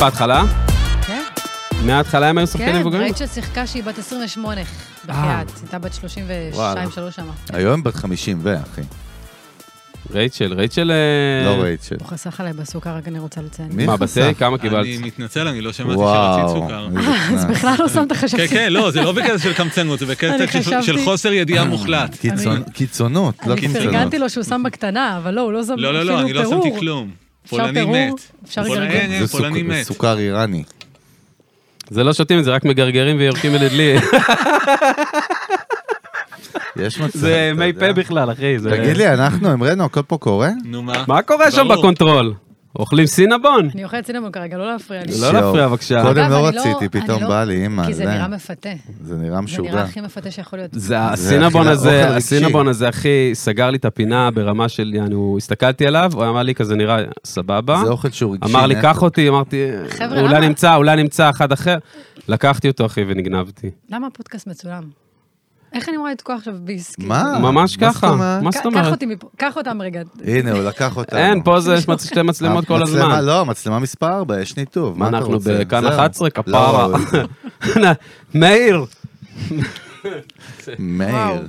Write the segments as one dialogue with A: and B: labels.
A: בהתחלה?
B: כן,
A: מההתחלה הם היו שחקנים
B: כן,
A: מבוגרים?
B: ראית ששיחקה שהיא בת 28,
A: אה.
B: בחייאת. הייתה בת 32,
A: וואלה.
B: 3 שמה.
C: היום בת 50 ו, אחי.
A: רייצ'ל, רייצ'ל... אה,
C: לא רייצ'ל.
B: הוא חסך עליי בסוכר, רק אני רוצה לציין.
C: מי
A: מה,
C: חסך?
A: בתה? כמה קיבלת?
D: אני מתנצל, אני לא שמעתי שרצית
C: וואו.
D: סוכר.
C: איזה
B: אז בכלל לא שמת
D: כן,
B: חשבתי.
D: כן, לא, זה לא בקטע של קמצנות, זה
B: אני
D: בקטע של-
B: חשבתי-
D: של חוסר
C: אה.
D: ידיעה מוחלט.
C: קיצונ- קיצונות, לא
B: אני
C: קיצונות.
B: פרגנתי לו שהוא שם בקטנה, אבל לא, הוא לא שם אפילו
D: לא,
B: פירור.
D: לא, לא, אני לא שמתי כלום.
B: אפשר
D: פולני
B: פירור?
D: מת.
B: אפשר
D: פולני-
B: לגרגר?
D: אין, אין,
C: זה
D: פולני
C: סוכר-
D: מת.
C: סוכר איראני.
A: זה לא שותים את זה, רק מגרגרים ויורקים אל הדלי.
C: יש מצב.
A: זה
C: אתה
A: מי
C: יודע.
A: פה בכלל, אחי. זה-
C: תגיד לי, אנחנו, אמרנו, הכל פה קורה?
D: נו מה?
A: מה קורה שם
D: ברור.
A: בקונטרול? אוכלים סינבון?
B: אני אוכלת סינמון כרגע, לא להפריע לי.
A: לא להפריע, בבקשה.
C: קודם
B: אגב,
C: לא
B: אני
C: רציתי,
B: אני
C: פתאום
B: לא-
C: בא לי, אימא,
B: כי זה
C: זה-
B: נראה מפתה.
C: זה נראה
B: זה
C: משוגע.
B: נראה הכי מפתה שיכול להיות.
A: זה הסינבון
C: אוכל
A: הזה,
C: רגשי.
A: הסינבון הזה, אחי, סגר לי את הפינה ברמה של, יעני, הוא הסתכלתי עליו, הוא אמר לי כזה נראה סבבה.
C: זה אוכל שהוא רגשי.
A: אמר לי,
C: נטו.
A: קח אותי, אמרתי,
B: חבר'ה,
A: אולי
B: למה?"
A: נמצא, אולי נמצא אחד אחר. לקחתי אותו, אחי, ונגנבתי.
B: למה הפודקאסט מצולם? איך אני אמורה לתקוע עכשיו ביס? כאילו?
C: מה?
A: ממש
C: אה, מה זאת
A: ככה,
C: אומרת? אה.
A: מה
B: ק-
A: זאת
B: קח
A: אומרת?
B: אותי מפה, קח אותם רגע.
C: הנה, הוא לקח אותנו.
A: אין, פה זה יש מצ- שתי מצלמות כל
C: המצלמה-
A: הזמן.
C: לא, מצלמה מספר 4, יש ניתוב.
A: מה
C: אתה
A: אנחנו
C: רוצה?
A: בכאן
C: זהו.
A: 11?
C: לא,
A: כפרה. מאיר!
C: מאיר.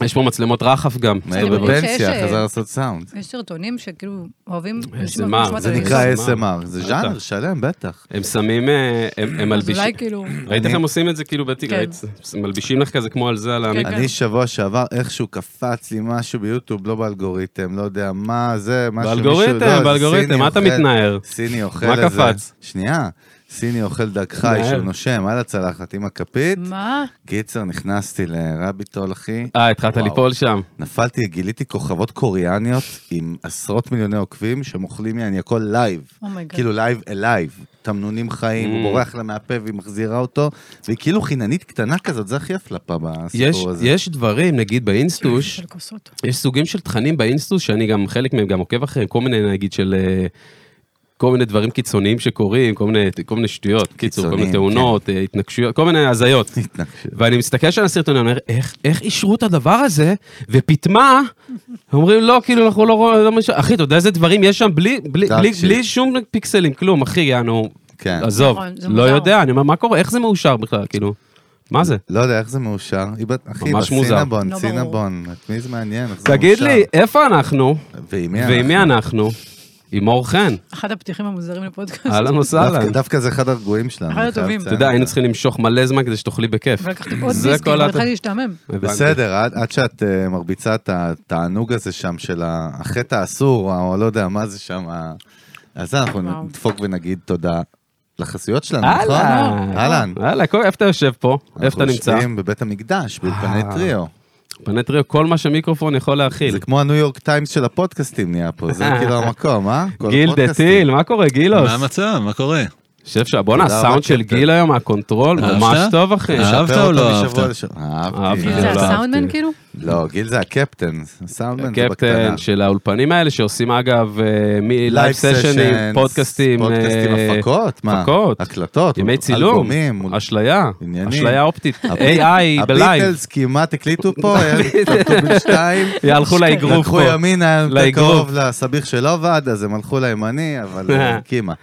A: יש פה מצלמות רחף גם.
C: מאיר
B: אני מרגיש שיש,
C: בפנסיה,
B: אה,
C: חזר לעשות סאונד.
B: יש סרטונים שכאילו אוהבים
A: איזה
B: לשמוע-
A: מה,
B: לשמוע את
A: זה
C: זה
B: הלייזר.
C: נקרא
A: אה,
C: ASMR, זה
A: בטח.
C: ז'אנר שלם, בטח.
A: הם שמים, אה, הם הם
B: אז
A: מלבישים.
B: אולי כאילו...
A: ראית איך
C: אני-
A: הם עושים את זה כאילו בתיק?
B: כן.
A: ראית? מלבישים לך כזה כמו על זה, על העמיק.
B: כן.
C: אני שבוע שעבר איכשהו קפץ לי משהו ביוטיוב, לא באלגוריתם, לא יודע מה זה, משהו... מישהו-
A: באלגוריתם,
C: לא, זה
A: באלגוריתם,
C: סיני
A: מה אתה
C: אוכל-
A: מתנער?
C: סיני אוכל
A: מה
C: איזה...
A: קפץ?
C: שנייה, סיני אוכל דג חי
A: מהר.
C: שהוא נושם על הצלחת עם הכפית.
B: מה?
C: קיצר, נכנסתי לרביט הול, אחי.
B: כן.
A: אה, התחלת
C: וואו.
A: ליפול שם.
C: נפלתי, גיליתי כוכבות קוריאניות עם עשרות מיליוני עוקבים שמוכלים לי, אני הכל לייב.
B: אומייגאד.
C: כאילו לייב אלייב. תמנונים חיים,
A: Mm.
C: הוא בורח לה מהפה והיא מחזירה אותו. והיא כאילו חיננית קטנה כזאת, זה הכי הפלפה
A: יש,
C: בסיפור הזה.
A: יש דברים, נגיד באינסטוש,
B: של כוסות.
A: יש סוגים של תכנים באינסטוש שאני גם, חלק מהם גם עוקב אחריהם, כל מיני, נגיד, של... אה, כל מיני דברים קיצוניים שקורים, כל מיני, כל מיני שטויות, קיצור, כל מיני
C: קיצוניים, כן.
A: תאונות, אה, התנגשויות, כל מיני הזיות.
C: התנגשות.
A: ואני מסתכל שם על הסרטון, אני אומר, איך, איך אישרו את הדבר הזה? ופתמה, אומרים, לא, כאילו, אנחנו לא רואים, לא משנה." אחי, אתה יודע איזה דברים יש שם בלי, בלי,
C: דארק
A: בלי,
C: שיט.
A: בלי שום פיקסלים, כלום, אחי, יענו,
C: כן.
A: עזוב,
B: נכון, זה
A: לא
B: מוזר.
A: יודע, אני אומר, מה קורה, איך זה מאושר בכלל, כאילו, מה זה?
C: לא יודע איך זה מאושר. היא בת- אחי,
A: ממש מוזר.
C: בסינבון,
B: לא ברור.
C: סינבון. את מי זה מעניין? איך זה
A: תגיד
C: מאושר?
A: לי, איפה אנחנו?
C: ועם מי
A: ועם מי
C: אנחנו?
A: אנחנו? עם אור חן,
B: אחד הפתיחים המוזרים לפודקאסט.
A: אהלן
C: דווקא-
A: וסהלן.
C: דווקא זה אחד הרגועים שלנו.
B: אחד
C: אני חייב
B: הטובים.
A: אתה
C: לציין
A: יודע,
C: את
A: היינו
C: זה.
A: צריכים למשוך מלא זמן כדי שתאכלי בכיף.
B: ולקחתי עוד
A: זה
B: ביס,
A: כל
B: כאילו,
A: הת-
B: התחלתי להשתעמם.
A: הבנתי.
C: בסדר, עד, עד שאת uh, מרביצה את התענוג הזה שם של ה- החטא האסור, או לא יודע מה זה שם, ה- אז אנחנו
B: וואו.
C: נדפוק ונגיד תודה לחסויות שלנו, נכון?
A: אהלן.
C: אהלן.
A: אהלן, כל- איפה אתה יושב פה? איפה אתה
C: אנחנו
A: נמצא?
C: יושבים בבית המקדש, באולפני
A: אה.
C: טריו.
A: פנטריו, כל מה שמיקרופון יכול להכיל.
C: זה כמו הניו יורק טיימס של הפודקאסטים נהיה פה, זה כאילו המקום, אה? כל
A: גיל דה
C: הפודקאסטים.
A: טיל, מה קורה גילוס?
D: מה המצב? מה קורה?
A: שף שעה, בואנה,
C: תודה
A: הסאונד
C: רבה,
A: של
C: קפטן.
A: גיל היום, הקונטרול,
D: אהבת?
A: ממש טוב אחי.
D: אה, אהבת
C: לשפר
D: או
C: אותו
D: לא אהבת?
C: משבוע לשבוע. אהבתי.
A: אהבתי.
B: כאילו,
A: לא
B: זה
A: אהבתי.
B: הסאונדמן כאילו?
C: לא, גיל זה הקפטן, סאונדמן כן, זה בקטנה.
A: קפטן של האולפנים האלה שעושים אגב אה, מלייב
C: לייב
A: סשנים,
C: סשנים,
A: פודקאסטים,
C: פודקאסטים,
A: אה,
C: הפקות, מה?
A: הפקות,
C: הקלטות,
A: ימי צילום,
C: אלבומים,
A: אשליה,
C: עניינים.
A: אשליה אופטית, AI בלייב,
C: הביטלס כמעט הקליטו פה, טובין שתיים.
A: הלכו לאגרוף
C: לקחו
A: פה,
C: ימינה, יותר
A: לאגרוף.
C: קרוב לסביך שלא עבד, אז הם הלכו לימני, אבל אה, כמעט.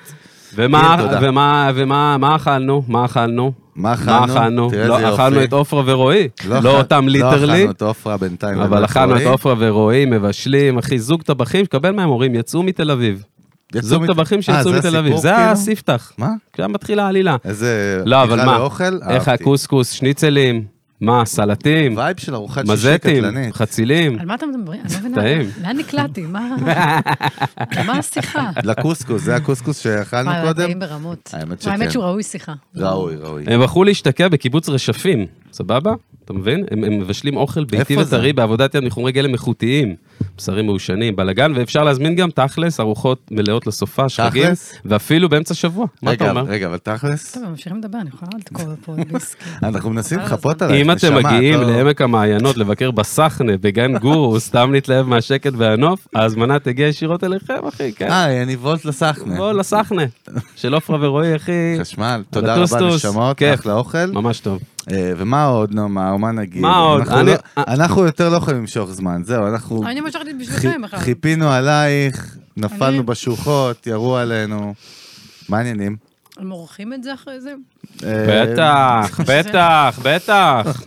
A: ומה
C: כן, תודה.
A: ומה- ומה מה אכלנו? מה אכלנו?
C: מה
A: מה
C: אכלנו?
A: אכלנו?
C: תראה
A: לא
C: איזה
A: אכלנו
C: יופי.
A: את עופרה ורועי,
C: אכל-
A: לא אותם
C: לא
A: ליטרלי,
C: אכלנו את עופרה בינתיים.
A: אבל
C: ולא
A: אכלנו את
C: רועי.
A: עופרה ורועי, מבשלים, אחי, זוג טבחים, שקבל מהם הורים, יצאו מתל אביב.
C: יצאו
A: זוג
C: מת-
A: טבחים
C: אה,
A: שיצאו
C: זה
A: מתל אביב,
C: הסיפור,
A: זה
C: כאילו?
A: הספתח.
C: מה?
A: שם מתחילה העלילה.
C: איזה...
A: לא, אבל
C: פתיחה
A: מה?
C: לאוכל,
A: איך
C: אהבתי.
A: הקוסקוס, שניצלים, מה, סלטים,
C: וייב של ארוחת שישי
A: מזטים,
C: קטלנית. אוקיי.
A: חצילים.
B: על מה אתם מדברים? אני לא מבינה.
A: טעים.
B: לאן נקלעתי? מה מה השיחה?
C: לקוסקוס, זה הקוסקוס שאכלנו
B: וואי,
C: קודם.
B: טעים ברמות.
C: האמת
B: וואי,
C: שכן.
B: שהוא ראוי שיחה.
C: ראוי, ראוי.
A: הם בחרו להשתקע בקיבוץ רשפים, סבבה? אתה מבין? הם, הם מבשלים אוכל ביתי
C: איפה זה?
A: וטרי בעבודת יד מחומרי גלם איכותיים, בשרים מעושנים, בלאגן, ואפשר להזמין גם תכלס, ארוחות מלאות לסופה, שחגים,
C: תכלס?
A: ואפילו באמצע שבוע, מה אתה
C: רגע,
A: אומר?
C: רגע, אבל תכלס,
B: טוב, הם ממשיכים לדבר, אני יכולה לתקוע פה עוד ביס. כאילו.
C: אנחנו מנסים
B: חבל על
C: לחפות
B: הזמן.
C: עלייך,
A: אה, אם אתם
C: נשמה, את
A: מגיעים
C: לא-
A: לעמק המעיינות לבקר בסחנה, בגן גורו, סתם להתלהב מהשקט והנוף, ההזמנה תגיע ישירות אליכם, אחי, כן.
C: אה, אני וולט לסחנה.
A: בוא לסחנה, של עופרה ורועי, אחי.
C: חשמל, תודה רבה,
A: הטוסטוס,
C: נשמות,
A: כיף.
C: אחלה אוכל.
A: ממש טוב.
C: אה, ומה עוד נאמר, מה נגיד?
A: מה עוד?
C: אנחנו
A: אני-
C: לא- אנחנו יותר לא יכולים למשוך זמן, זהו, אנחנו
B: אני משכתי בשבילכם
C: חי-
B: בכלל.
C: חיפינו עלייך,
B: אני-
C: נפלנו בשוחות, ירו עלינו. מה העניינים?
B: הם עורכים את זה אחרי זה?
C: אה,
A: בטח, בטח, בטח.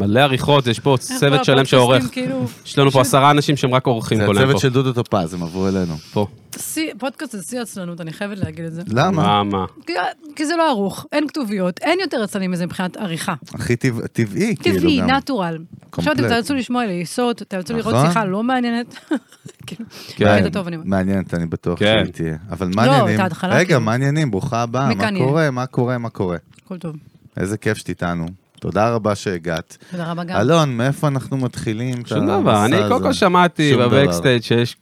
A: מלא עריכות, יש פה
B: איך
A: צוות שלם
B: הפודקאסטים,
A: שעורך.
B: כאילו,
A: יש לנו פה עשרה אנשים שהם רק עורכים
C: זה
A: כל היום
C: הצוות
A: פה.
C: של דודו טופז, הם עברו אלינו.
A: פה.
B: שיא- פודקאסט זה שיא עצלנות, אני חייבת להגיד את זה.
C: למה?
A: מה, מה?
B: כי- כי זה לא ערוך, אין כתוביות, אין יותר עצלנים מזה מבחינת עריכה.
C: הכי טבע- טבעי, כאילו
B: טבעי,
C: גם.
B: נטורל. עכשיו אתם
C: קומפלט.
B: תאלצו לשמוע לעיסות, תאלצו לראות
C: נכון.
B: שיחה לא מעניינת. כאילו,
A: כן.
B: בקטע טוב, אני אומרת.
C: מעניינת, אני בטוח
A: כן.
C: שהיא תהיה. אבל מה
B: לא,
C: העניינים?
B: את ההתחלה,
C: רגע,
B: כאילו.
C: מה העניינים? ברוכה הבאה, מה
B: מכאן יהיה.
C: קורה? מה קורה? מה קורה?
B: הכל טוב.
C: איזה כיף שאת איתנו. תודה רבה שהגעת.
B: תודה רבה גם.
C: אלון, מאיפה אנחנו מתחילים את
A: שום
C: המסע
A: דבר, אני קודם
C: הזה?
A: כל שמעתי
C: שום דבר.
A: בבקסטייג' שיש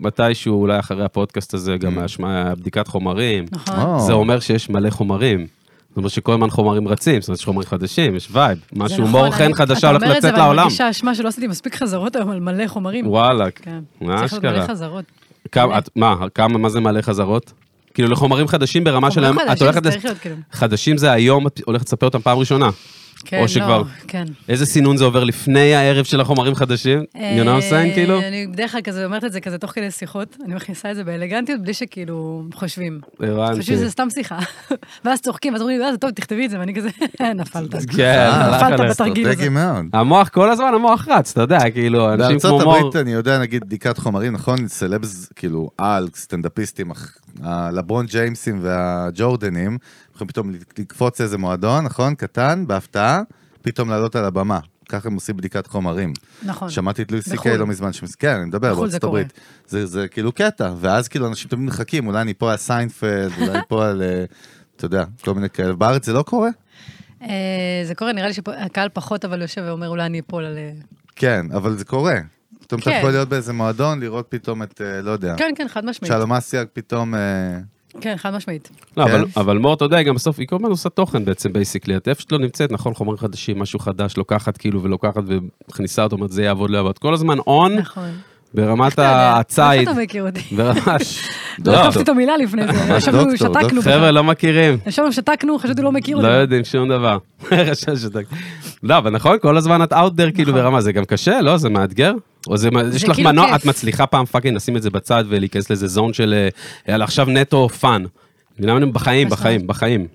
A: מתישהו, אולי אחרי הפודקאסט הזה,
C: כן.
A: גם השמע- בדיקת חומרים.
B: נכון.
C: או.
A: זה אומר שיש מלא חומרים. זאת אומרת שכל הזמן חומרים רצים, זאת אומרת יש חומרים חדשים, יש וייב.
B: זה
A: משהו,
B: נכון,
A: מור
B: אני-
A: חן חדשה הולך לצאת
B: אתה אומר את זה, ואני
A: לעולם.
B: מרגישה אשמה שלא עשיתי מספיק חזרות היום על מלא חומרים.
A: וואלה,
B: כן.
A: מה
B: צריך להיות מלא
A: אשכרה?
B: חזרות.
A: כמה, את- מה, כמה, מה זה מלא חזרות? כאילו לחומרים חדשים ברמה של
B: חומרים
A: היום, את
B: חדשים,
A: הולכת...
B: זה
A: לס-
B: צריך להיות כאילו.
A: חדשים זה היום, את הולכת לספר אותם פעם ראשונה.
B: כן,
A: או
B: לא,
A: שכבר-
B: כן.
A: איזה סינון זה עובר לפני הערב של החומרים חדשים? You know what I'm saying,
B: אה,
A: כאילו?
B: אני בדרך כלל כזה אומרת את זה כזה תוך כדי שיחות, אני מכניסה את זה באלגנטיות בלי שכאילו חושבים.
A: הבנתי.
B: חושבים שזה סתם שיחה. ואז צוחקים, אז אומרים לי, "אה, זה טוב, תכתבי את זה, ואני כזה, "אה, נפלת.
A: כן,
C: אה,
A: הלך
B: נפלת
A: עליי.
B: בתרגיל הזה.
C: אסטרטגי מאוד.
A: המוח כל הזמן, המוח רץ, אתה יודע, כאילו, אנשים כמו
C: בארצות
A: מור...
C: הברית אני יודע, נגיד, בדיקת חומרים, נכון? סלבס, כאילו, על, סטנדאפיסטים, אח- הלברון ג'יימסים והג'ורדנים, יכולים פתאום לקפוץ איזה מועדון, נכון? קטן, בהפתעה, פתאום לעלות על הבמה. ככה הם עושים בדיקת חומרים.
B: נכון.
C: שמעתי את לואי סי
B: בחו"ל.
C: קיי לא מזמן, שמס- כן, אני מדבר,
B: בחו"ל זה
C: בארצות
B: קורה.
C: הברית. זה זה כאילו קטע, ואז כאילו אנשים תמיד מחכים, אולי אני פה על סיינפלד, אולי פה על, אה, אתה יודע, כל מיני כאלה. בארץ זה לא קורה?
B: אה, זה קורה, נראה לי שהקהל פחות אבל יושב ואומר, אולי אני אפול על... אה,
C: כן, אבל זה קורה. פתאום אתה
B: כן.
C: יכול להיות באיזה מועדון, לראות פתאום את, אה, לא יודע.
B: כן, כן, חד משמעית.
C: שלום אסיאג פתאום... אה,
B: כן, חד משמעית.
A: לא, אבל-
C: כן.
A: אבל מור, אתה יודע, גם בסוף, היא כל הזמן עושה תוכן בעצם, בייסיקלי. את איפה שאת לא נמצאת, נכון, חומרים חדשים, משהו חדש, לוקחת כאילו ולוקחת ומכניסה אותו, אומרת, זה יעבוד, לא יעבוד. כל הזמן און,
B: נכון.
A: ברמת
B: אתה יודע,
A: הציד.
B: איך אתה מכיר אותי?
A: ברמת...
B: לא
A: לא,
B: כתבתי את המילה לפני זה, ישבנו,
C: דוקטור,
B: שתקנו.
C: דוקטור.
A: חבר'ה, לא מכירים.
B: ישבנו, שתקנו, חשבתי לא מכיר
A: לא
B: אותי.
A: יודעים שום דבר. חשב שתק- לא, אבל נכון, כל הזמן את out there כאילו ברמה, זה גם קשה, לא? זה מאתגר? או זה, מה- יש לך
B: נכון. כאילו
A: מנוע,
B: כיף.
A: את מצליחה פעם פאקינג לשים את זה בצד ולהיכנס לאיזה זון של, אה, יאללה, עכשיו נטו פאן. בחיים,
B: מה זאת
A: בחיים, בחיים.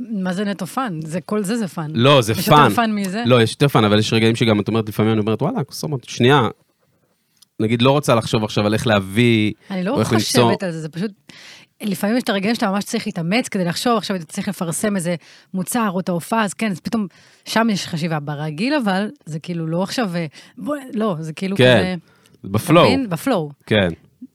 B: מה זה נטו פאן? זה, כל זה זה פאן.
A: לא, זה
B: יש
A: פאן.
B: יותר פאן מזה?
A: לא, יש יותר פאן, אבל יש רגעים שגם את אומרת, לפעמים אני אומרת, וואלה, קוסומות, שנייה. נגיד, לא רוצה לחשוב עכשיו על איך להביא,
B: אני
A: או
B: לא
A: איך למצוא.
B: חושבת על זה, זה פשוט... לפעמים יש את הרגעים שאתה ממש צריך להתאמץ כדי לחשוב, עכשיו אתה צריך לפרסם איזה מוצר או את ההופעה, אז כן, אז פתאום, שם יש חשיבה. ברגיל אבל, זה כאילו לא עכשיו... אה, בוא, לא, זה כאילו
A: כן,
B: כזה...
A: בפלואו,
B: אתה מבין? בפלואו.
A: כן.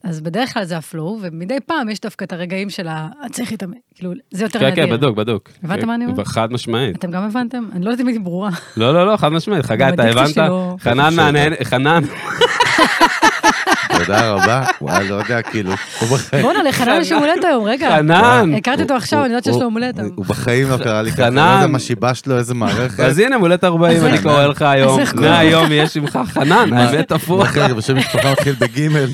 B: אז בדרך כלל זה הפלואו, ומדי פעם יש דווקא את הרגעים של ה... "אה, צריך להתאמץ, כאילו, זה יותר
A: כן,
B: נדיר.
A: כן, בדוק, בדוק.
B: הבנת
A: כן,
B: מה אני אומרת?
A: חד משמעית.
B: אתם גם הבנתם? אני לא יודעת אם הייתי ברורה.
A: לא, לא, לא, חד משמעית. חגי,
B: גם
A: אתה
B: הדיקציה
A: הבנת?
B: שלו-
A: חנן
C: חשוב
A: מהנהן, חנן,
C: תודה רבה, וואי, לא יודע, כאילו, הוא בחיים,
B: בואנה, לחנן יש יום הולדת היום, רגע.
A: חנן.
B: הכרתי אותו עכשיו, אני יודעת שיש לו יום הולדת היום.
C: הוא בחיים לא קרא לי ככה,
A: חנן.
C: אני לא יודע מה שיבשת לו, איזה מערכת.
A: אז הנה, מולדת 40, אני קורא לך היום.
B: איך קוראים
A: מהיום יש עמך חנן, האמת הפוך.
C: דרך אגב, השם משפחה מתחיל בגימל.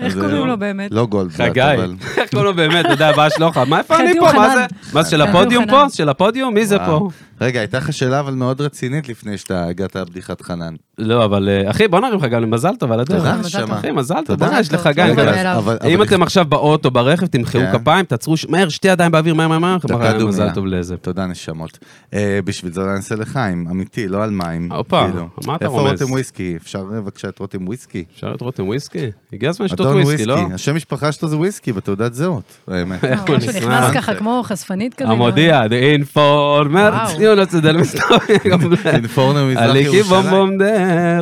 B: איך
C: אז,
B: קוראים
C: אה,
B: לו באמת?
C: לא גולדברט,
A: חגי,
C: אבל...
A: איך קוראים לו באמת, אתה יודע, הבעיה שלך, מה איפה אני
B: חדי
A: פה, מה
B: יוחנן.
A: זה? מה זה של
B: חדי
A: הפודיום
B: יוחנן.
A: פה? של הפודיום? מי זה פה?
C: וואו. רגע, הייתה לך שאלה אבל מאוד רצינית לפני שאתה הגעת לבדיחת חנן.
A: לא, אבל אה, אחי, בוא נרים לך גם למזל טוב על הדרך.
C: תודה,
B: מזל טוב.
C: נשמה.
A: אחי, מזל טוב,
C: תודה.
A: בוא'נה, יש לך
B: מזל
A: גן.
B: טוב.
C: רגע,
A: כאלה.
B: מאליו.
C: אבל- אבל
A: אם
C: לפני-
A: אתם עכשיו באוטו, ברכב, תמחאו
C: כן.
A: כפיים, תעצרו ש- מהר, שתי ידיים באוויר, מהר, מהר, מהר,
C: דקה
A: כפרה, מזל
C: דומייה.
A: טוב לזה.
C: תודה, נשמות. אה, בשביל זה אולי נעשה לחיים, אמיתי, לא על מים.
A: אה, הופה,
C: כאילו.
A: מה אתה
C: איפה
A: רומז?
C: רותם וויסקי? אפשר אה, בבקשה את רותם וויסקי?
A: אפשר את רותם וויסקי? הגיע הזמן לשתות
C: אדון
A: וויסקי, לא? אה,
C: השם משפחה שלו זה וויסקי בתעודת זהות, האמת.
A: איך הוא
B: ממש הוא נכנס
A: נכנס?
B: ככה כמו חשפנית כזה.
A: המודיע, the informer,
B: וואו.
A: ציון הצדל מסתובב.
C: אינפורנר מזרח
A: אליקי
C: ירושלים.
A: בומבומדר.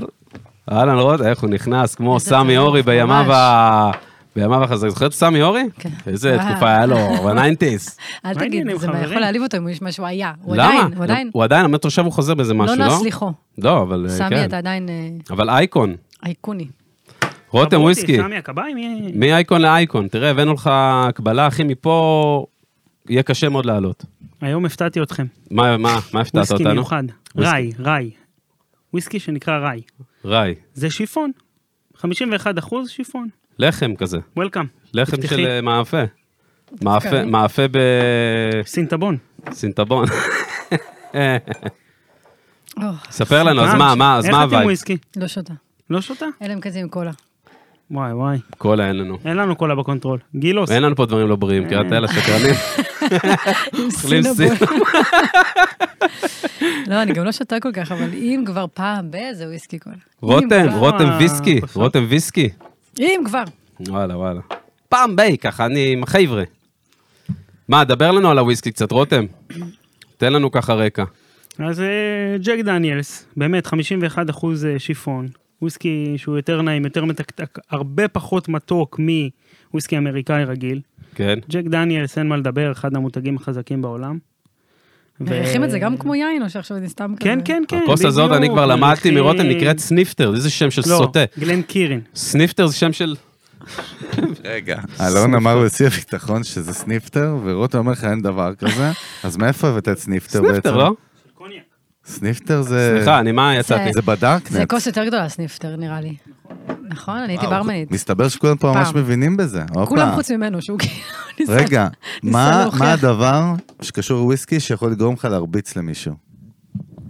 A: אהלן רותם, איך הוא נכנס, כמו
B: איזה
A: סמי
B: טירוף,
A: אורי בימיו
B: ממש.
A: ה... בימיו החזק. זוכר את סמי אורי?
B: כן.
A: איזה
B: וואו.
A: תקופה היה לו, בניינטיס.
B: אל
D: מה
B: תגיד,
D: העניינים,
B: זה מה-
D: חברים?
B: יכול להעליב אותו אם הוא ישמע שהוא היה. הוא
A: למה? לא,
B: עדיין, הוא עדיין.
A: הוא עדיין, המטרו שם הוא חוזר באיזה משהו,
B: לא
A: לא?
B: נס ליחו.
A: לא, אבל אה,
B: סמי,
A: כן.
B: אתה עדיין אה,
A: אבל אייקון.
B: אייקוני.
A: רותם
E: חברותי,
A: וויסקי.
E: סמי הכבאי, מי-
A: מאייקון לאייקון. תראה, הבאנו לך הקבלה, אחי, מפה יהיה קשה מאוד לעלות.
E: היום הפתעתי אתכם.
A: מה, מה, מה הפתעת
E: וויסקי
A: אותנו?
E: מיוחד.
A: וויסקי.
E: ראי, ראי. וויסקי שנקרא ראי.
A: ראי.
E: זה שיפון. 51 אחוז שיפון.
A: לחם כזה.
E: וולקאם.
A: לחם
E: תפתחי.
A: של אה, מאפה. מאפה,
B: אוקיי.
A: מאפה ב...
E: סינטבון.
A: סינטבון.
B: או,
A: ספר לנו, אז
E: אה,
A: מה, מה, אז מה
D: אה.
E: איך אתם
A: הווייב?
E: וויסקי?
B: לא שותה.
E: לא שותה?
B: אלה הם כזה עם קולה.
E: וואי וואי.
A: קולה אין לנו.
E: אין לנו קולה בקונטרול. גילוס.
A: אין לנו פה דברים לא בריאים, קראת
E: אה.
A: אלה שקרנים. אוכלים
B: סינבול. לא, אני גם לא שותה כל כך, אבל אם כבר פעם באיזה וויסקי קולה. אם
A: רותם,
B: כבר-
A: רותם
E: אה,
A: ויסקי,
E: בסוף.
A: רותם ויסקי.
B: אם כבר.
A: וואלה, וואלה. פעם ביי, ככה אני עם החבר'ה. מה, דבר לנו על הוויסקי קצת, רותם. תן לנו ככה רקע.
E: אז אה, ג'ק דניאלס, באמת 51 אחוז אה, שיפון, וויסקי שהוא יותר נעים, יותר מתקתק, הרבה פחות מתוק מוויסקי אמריקאי רגיל.
A: כן.
E: ג'ק דניאלס, אין מה לדבר, אחד המותגים החזקים בעולם. ו-
B: מריחים את זה גם כמו יין, או שעכשיו אני סתם כזה...
E: כן, כן, כן,
A: הכוס הזאת, אני כבר
E: בדיוק,
A: למדתי
E: מריחים.
A: מרותם, נקראת סניפטר, זה שם של
E: לא,
A: סוטה.
E: גלן קירין.
A: סניפטר זה שם של...
C: רגע. אלון אמר בשיא הביטחון שזה סניפטר, ורוטו אומר לך אין דבר כזה, אז מאיפה הבאת את סניפטר בעצם?
A: סניפטר, לא?
C: סניפטר זה...
A: סליחה, אני מה יצאתי?
C: זה בדארקנט.
B: אה, זה כוס יותר גדולה, סניפטר, נראה לי. נכון? אני הייתי ברמנית.
C: מסתבר שכולם פה ממש
B: פעם.
C: מבינים בזה. הופה.
B: כולם חוץ ממנו, שהוא כאילו... ניסה-
C: רגע,
B: ניסה
C: מה
B: להוכיח.
C: מה הדבר שקשור לוויסקי שיכול לגרום לך להרביץ למישהו?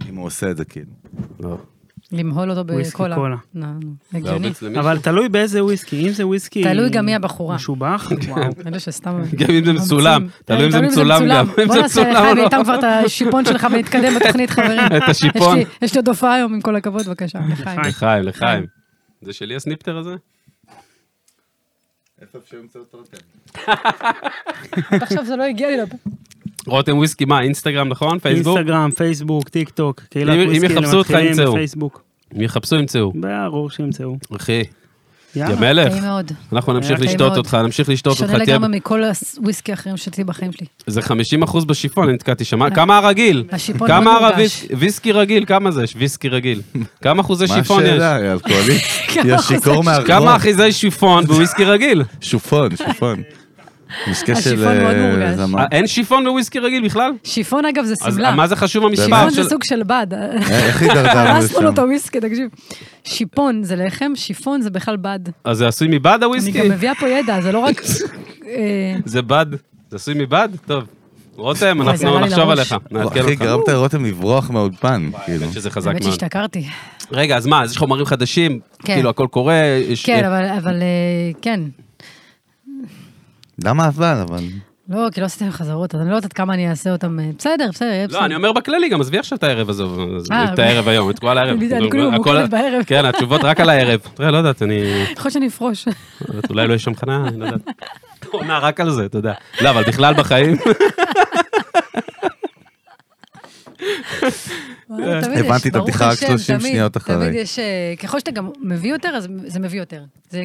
C: אם הוא עושה את זה כאילו.
A: לא.
B: למהול אותו
E: וויסקי
B: בקולה.
E: קולה.
B: נו, נו, הגיוני.
A: להרביץ למישהו.
E: אבל תלוי באיזה וויסקי, אם זה וויסקי...
B: תלוי גם מי הבחורה.
E: משובח, וואו.
B: אלה שסתם...
A: גם אם זה מצולם.
B: ממציאים. כן,
A: תלוי אם זה מצולם גם. אם
B: בוא
A: זה
B: נעשה
A: מצולם או
B: אחד
A: לא.
B: מאיתם כבר את השיפון שלך ונתקדם בתוכנית, חברים.
A: את השיפון.
B: יש לי- יש לי עוד הופעה היום, עם כל הכבוד, בבקשה. לחיים.
A: לחיים, לחיים. זה שלי הסניפטר הזה?
C: איפה אפשר למצוא את רותם?
B: עד עכשיו זה לא הגיע לי לפה.
A: רותם וויסקי, מה, אינסטגרם, נכון? פייסבוק?
E: אינסטגרם, פייסבוק, טיק טוק, קהילת
A: אם- אם
E: וויסקי
A: יחפשו אותך,
E: למתחילים,
A: ימצאו.
E: פייסבוק.
A: אם יחפשו, ימצאו.
E: ברור שימצאו.
A: אחי, יא
E: יאללה.
A: מלך.
B: טעים מאוד.
A: אנחנו נמשיך
E: טעים
A: לשתות
B: מאוד.
A: אותך, נמשיך לשתות אותך.
B: שונה
A: תהיה-
B: לגמרי מכל הוויסקי האחרים שתהיי בחיים שלי.
A: זה 50% בשיפון, אני נתקעתי שם. כמה הרגיל?
B: השיפון לא
A: כמה
B: מאוד
A: הרגיל?
B: מורגש.
A: ויסקי רגיל, כמה זה? ויסקי רגיל. כמה אחוזי
C: מה
A: שיפון יש?
C: השאלה, לא. היא אלכוהולית?
B: כמה
C: היא
B: אחוזי
C: השיכור מהארנון.
A: כמה אחיזי שיפון בוויסקי רגיל?
C: שופון, שופון. משקה של...
B: השיפון מאוד
C: אה,
B: מורגש.
C: זמר.
A: אה, אין שיפון בוויסקי רגיל בכלל?
B: שיפון אגב זה
A: אז
B: שמלה.
A: מה זה חשוב המספר
B: שיפון זה
A: של...
B: סוג של בד.
C: אה, איך הידרדרנו
B: הרסנו לו את
A: אה,
C: לשם?
B: הוויסקי, תקשיב. שיפון זה לחם, שיפון זה בכלל בד.
A: אז זה עשוי מבד
B: אני
A: הוויסקי?
B: גם מביאה פה ידע, זה לא רק... אה,
A: זה בד? זה עשוי מבד? טוב. רותם,
B: וואי, זה
A: אנחנו
B: עלה לי
A: נחשוב
B: לראש.
A: עליך. נעדכן
C: אחי,
A: אותך.
C: גרמת לרותם לברוח מהאולפן, כאילו.
A: האמת שזה חזק
B: האמת
A: מאוד.
B: שהשתכרתי.
A: רגע, אז מה, אז יש חומרים חדשים?
B: כן.
A: כאילו, הכל קורה? יש-
B: כן, אבל- אבל אה, כן.
C: למה אבל? אבל...
B: לא, כי לא עשיתי להם חזרות, אז אני לא יודעת כמה אני אעשה אותם. אה, בסדר, בסדר, יהיה בסדר.
A: לא, אני אומר בכללי, גם עזבי עכשיו את הערב, עזוב,
B: אה,
A: את הערב היום, את כל הערב. כאילו,
B: אני יודעת, אני כולי
A: הכל-
B: ממוקדת בערב.
A: כן, התשובות רק על הערב. תראה, לא יודעת, אני...
B: יכול להיות שאני אפרוש.
A: אולי לא יש שם חנה, אני לא יודעת. עונה רק על זה, אתה יודע. לא, אבל בכלל בחיים,
B: וואלה, תמיד יש,
C: הבנתי את
B: ברוך
C: הבדיחה רק
B: השם,
C: 30
B: תמיד-
C: שניות אחרי.
B: תמיד יש, אה, ככל שאתה גם מביא יותר, אז זה מביא יותר. זה,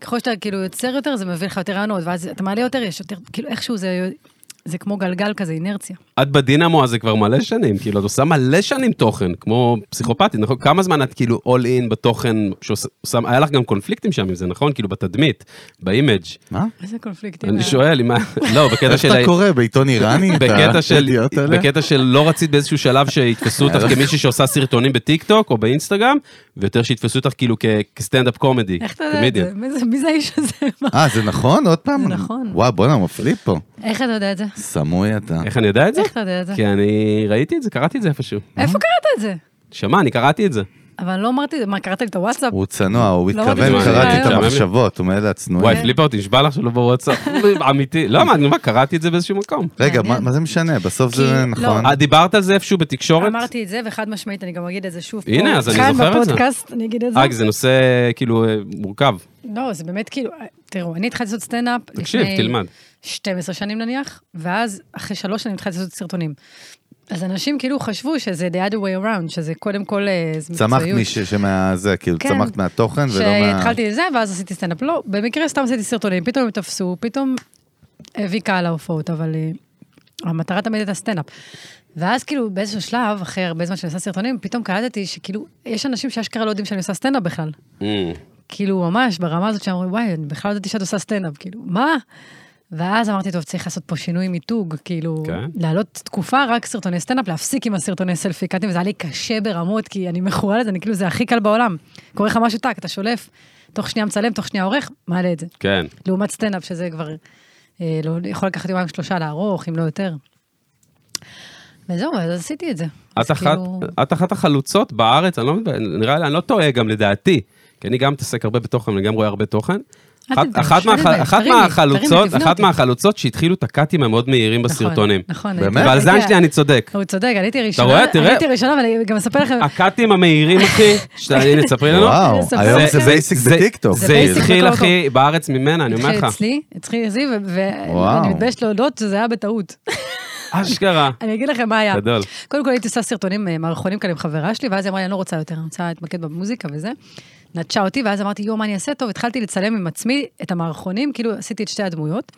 B: ככל שאתה כאילו יוצר יותר, זה מביא לך יותר רעיונות, ואז אתה מעלה יותר, יש יותר, כאילו איכשהו זה, זה כמו גלגל כזה, אינרציה.
A: את בדינמו הזה כבר מלא שנים, כאילו, את עושה מלא שנים תוכן, כמו פסיכופתית, נכון? כמה זמן את כאילו all in בתוכן, שעושה- היה לך גם קונפליקטים שם עם זה, נכון? כאילו, בתדמית, באימג'.
C: מה?
B: איזה קונפליקטים.
A: אני
B: האלה.
A: שואל, אם ה- לא, בקטע
C: איך
A: של...
C: אתה
A: ה-
C: קורא? בעיתון איראני? את
A: בקטע של,
C: הידיעות האלה?
A: בקטע של לא רצית באיזשהו שלב שיתפסו אותך כמישהי שעושה סרטונים בטיק טוק או באינסטגרם, ויותר שיתפסו אותך כאילו כ- כסטנדאפ קומדי.
B: איך אתה יודע את זה?
A: קומדיאן.
B: מי זה- מי זה האיש הזה? מה?
C: אה, זה נכון? עוד פעם?
B: זה נכון.
C: וואו, בואנה, מפליא פה.
B: איך אתה יודע את זה?
C: סמוי אתה.
A: איך אני יודע את זה?
B: איך אתה יודע את זה?
A: כי אני ראיתי את זה, קראתי את זה איפשהו.
B: איפה קראת את זה?
A: שמע, אני קראתי את זה.
B: אבל אני לא אמרתי את זה, מה, קראת לי את הוואטסאפ?
C: הוא צנוע, הוא
B: לא
C: התכוון,
A: ראיתי
C: קראתי
A: את
C: את
A: זה.
C: המחשבות, הוא מאלה
A: וואי,
C: הצנועים.
A: פליפה אותי, נשבע לך שלא בוואטסאפ. אמיתי. לא, מה, אני אומר, קראתי את זה באיזשהו מקום.
C: רגע,
B: מעניין.
C: מה מה זה משנה? בסוף
B: כי-
C: זה
B: לא.
C: נכון.
A: את דיברת על זה איפשהו בתקשורת?
B: אמרתי את זה, וחד משמעית, אני גם אגיד את זה שוב פה.
A: הנה, אז אני זוכר את
B: כאן
A: זה.
B: בפודקאסט, אני אגיד את זה.
A: אה, כי זה נושא כאילו אה, מורכב.
B: לא, זה באמת כאילו, תראו, אני התחלתי לעשות סטנדאפ לפני...
A: תקשיב, תלמד.
B: 12 שנים נניח, ואז אחרי שלוש שנים התחלתי לעשות סרטונים. אז אנשים כאילו חשבו שזה the other way around, שזה קודם כל אה, זה
C: צמחת מישהו שמה... זה, כאילו,
B: כן.
C: צמחת מהתוכן ולא מה...
B: שהתחלתי לזה, ואז עשיתי סטנדאפ. לא, במקרה סתם עשיתי סרטונים, פתאום הם תפסו, פתאום הביא קהל להופעות, אבל אה, המטרה תמיד הייתה סטנדאפ. ואז כאילו באיזשהו שלב, אחרי הרבה זמן שאני עושה סרטונים, פתאום קלטתי שכאילו, יש אנשים שאשכרה לא יודעים שאני עושה סטנדאפ בכלל.
A: אה,
B: כאילו, ממש ברמה הזאת שאמרו, וואי, אני בכלל לא ידעתי שאת עושה סטנדאפ, כאילו, מה? ואז אמרתי, טוב, צריך לעשות פה שינוי מיתוג, כאילו,
A: כן.
B: להעלות תקופה רק סרטוני סטנדאפ, להפסיק עם הסרטוני סלפי קאטים, וזה היה לי קשה ברמות, כי אני מכורה לזה, אני כאילו, זה הכי קל בעולם. קורה לך משהו טאק, אתה שולף, תוך שנייה מצלם, תוך שנייה עורך, מעלה את זה.
A: כן.
B: לעומת סטנדאפ, שזה כבר אה, לא, יכול לקחת יומיים שלושה לערוך, אם לא יותר. וזהו, אז עשיתי את זה.
A: את
B: אז
A: אחת,
B: כאילו-
A: את אחת החלוצות בארץ, אני לא, מתב- נראה לי, אני לא טועה גם לדעתי, כי אני גם מתעסק הרבה בתוכן, אני גם רואה הרבה תוכן.
B: אל
A: אחת-
B: תתבייש,
A: אחת
B: אל
A: מהח-
B: תתבייש,
A: אחת
B: תרימי,
A: מהחלוצות,
B: תרימי, תבני
A: אחת
B: אותי.
A: מהחלוצות שהתחילו את הקאטים המאוד מהירים
B: נכון,
A: בסרטונים.
B: נכון.
C: באמת?
B: הייתי-
A: ועל זה
B: הייתי-
A: שלי אני צודק.
B: הוא צודק, עליתי ראשונה.
A: רואה? תראה. אה,
B: עליתי ראשונה, אבל אני גם אספר לכם,
A: הקאטים המהירים, אחי, שאתה- הנה, תספרי לנו.
C: וואו,
B: לספר
C: היום
B: לכם.
C: זה בייסיק
A: כן, לא? זה-
C: בטיקטוק.
A: זה
B: זה בייסיק
A: התחיל,
B: בכל
A: אחי, בארץ ממנה, אני אומר
B: התחיל
A: לך.
B: אצלי, אצלי אצלי, ו- ו-
C: וואו.
B: ואני מתביישת להודות שזה היה בטעות.
A: אשכרה.
B: אני אגיד לכם מה היה.
A: גדול.
B: קודם כל הייתי עושה סרטונים, אה, מערכונים כאלה עם חברה שלי, ואז היא אמרה לי, אני לא רוצה יותר, אני רוצה להתמקד במוזיקה וזה. נטשה אותי, ואז אמרתי, יואו, מה אני אעשה? טוב, התחלתי לצלם עם עצמי את המערכונים, כאילו עשיתי את שתי הדמויות.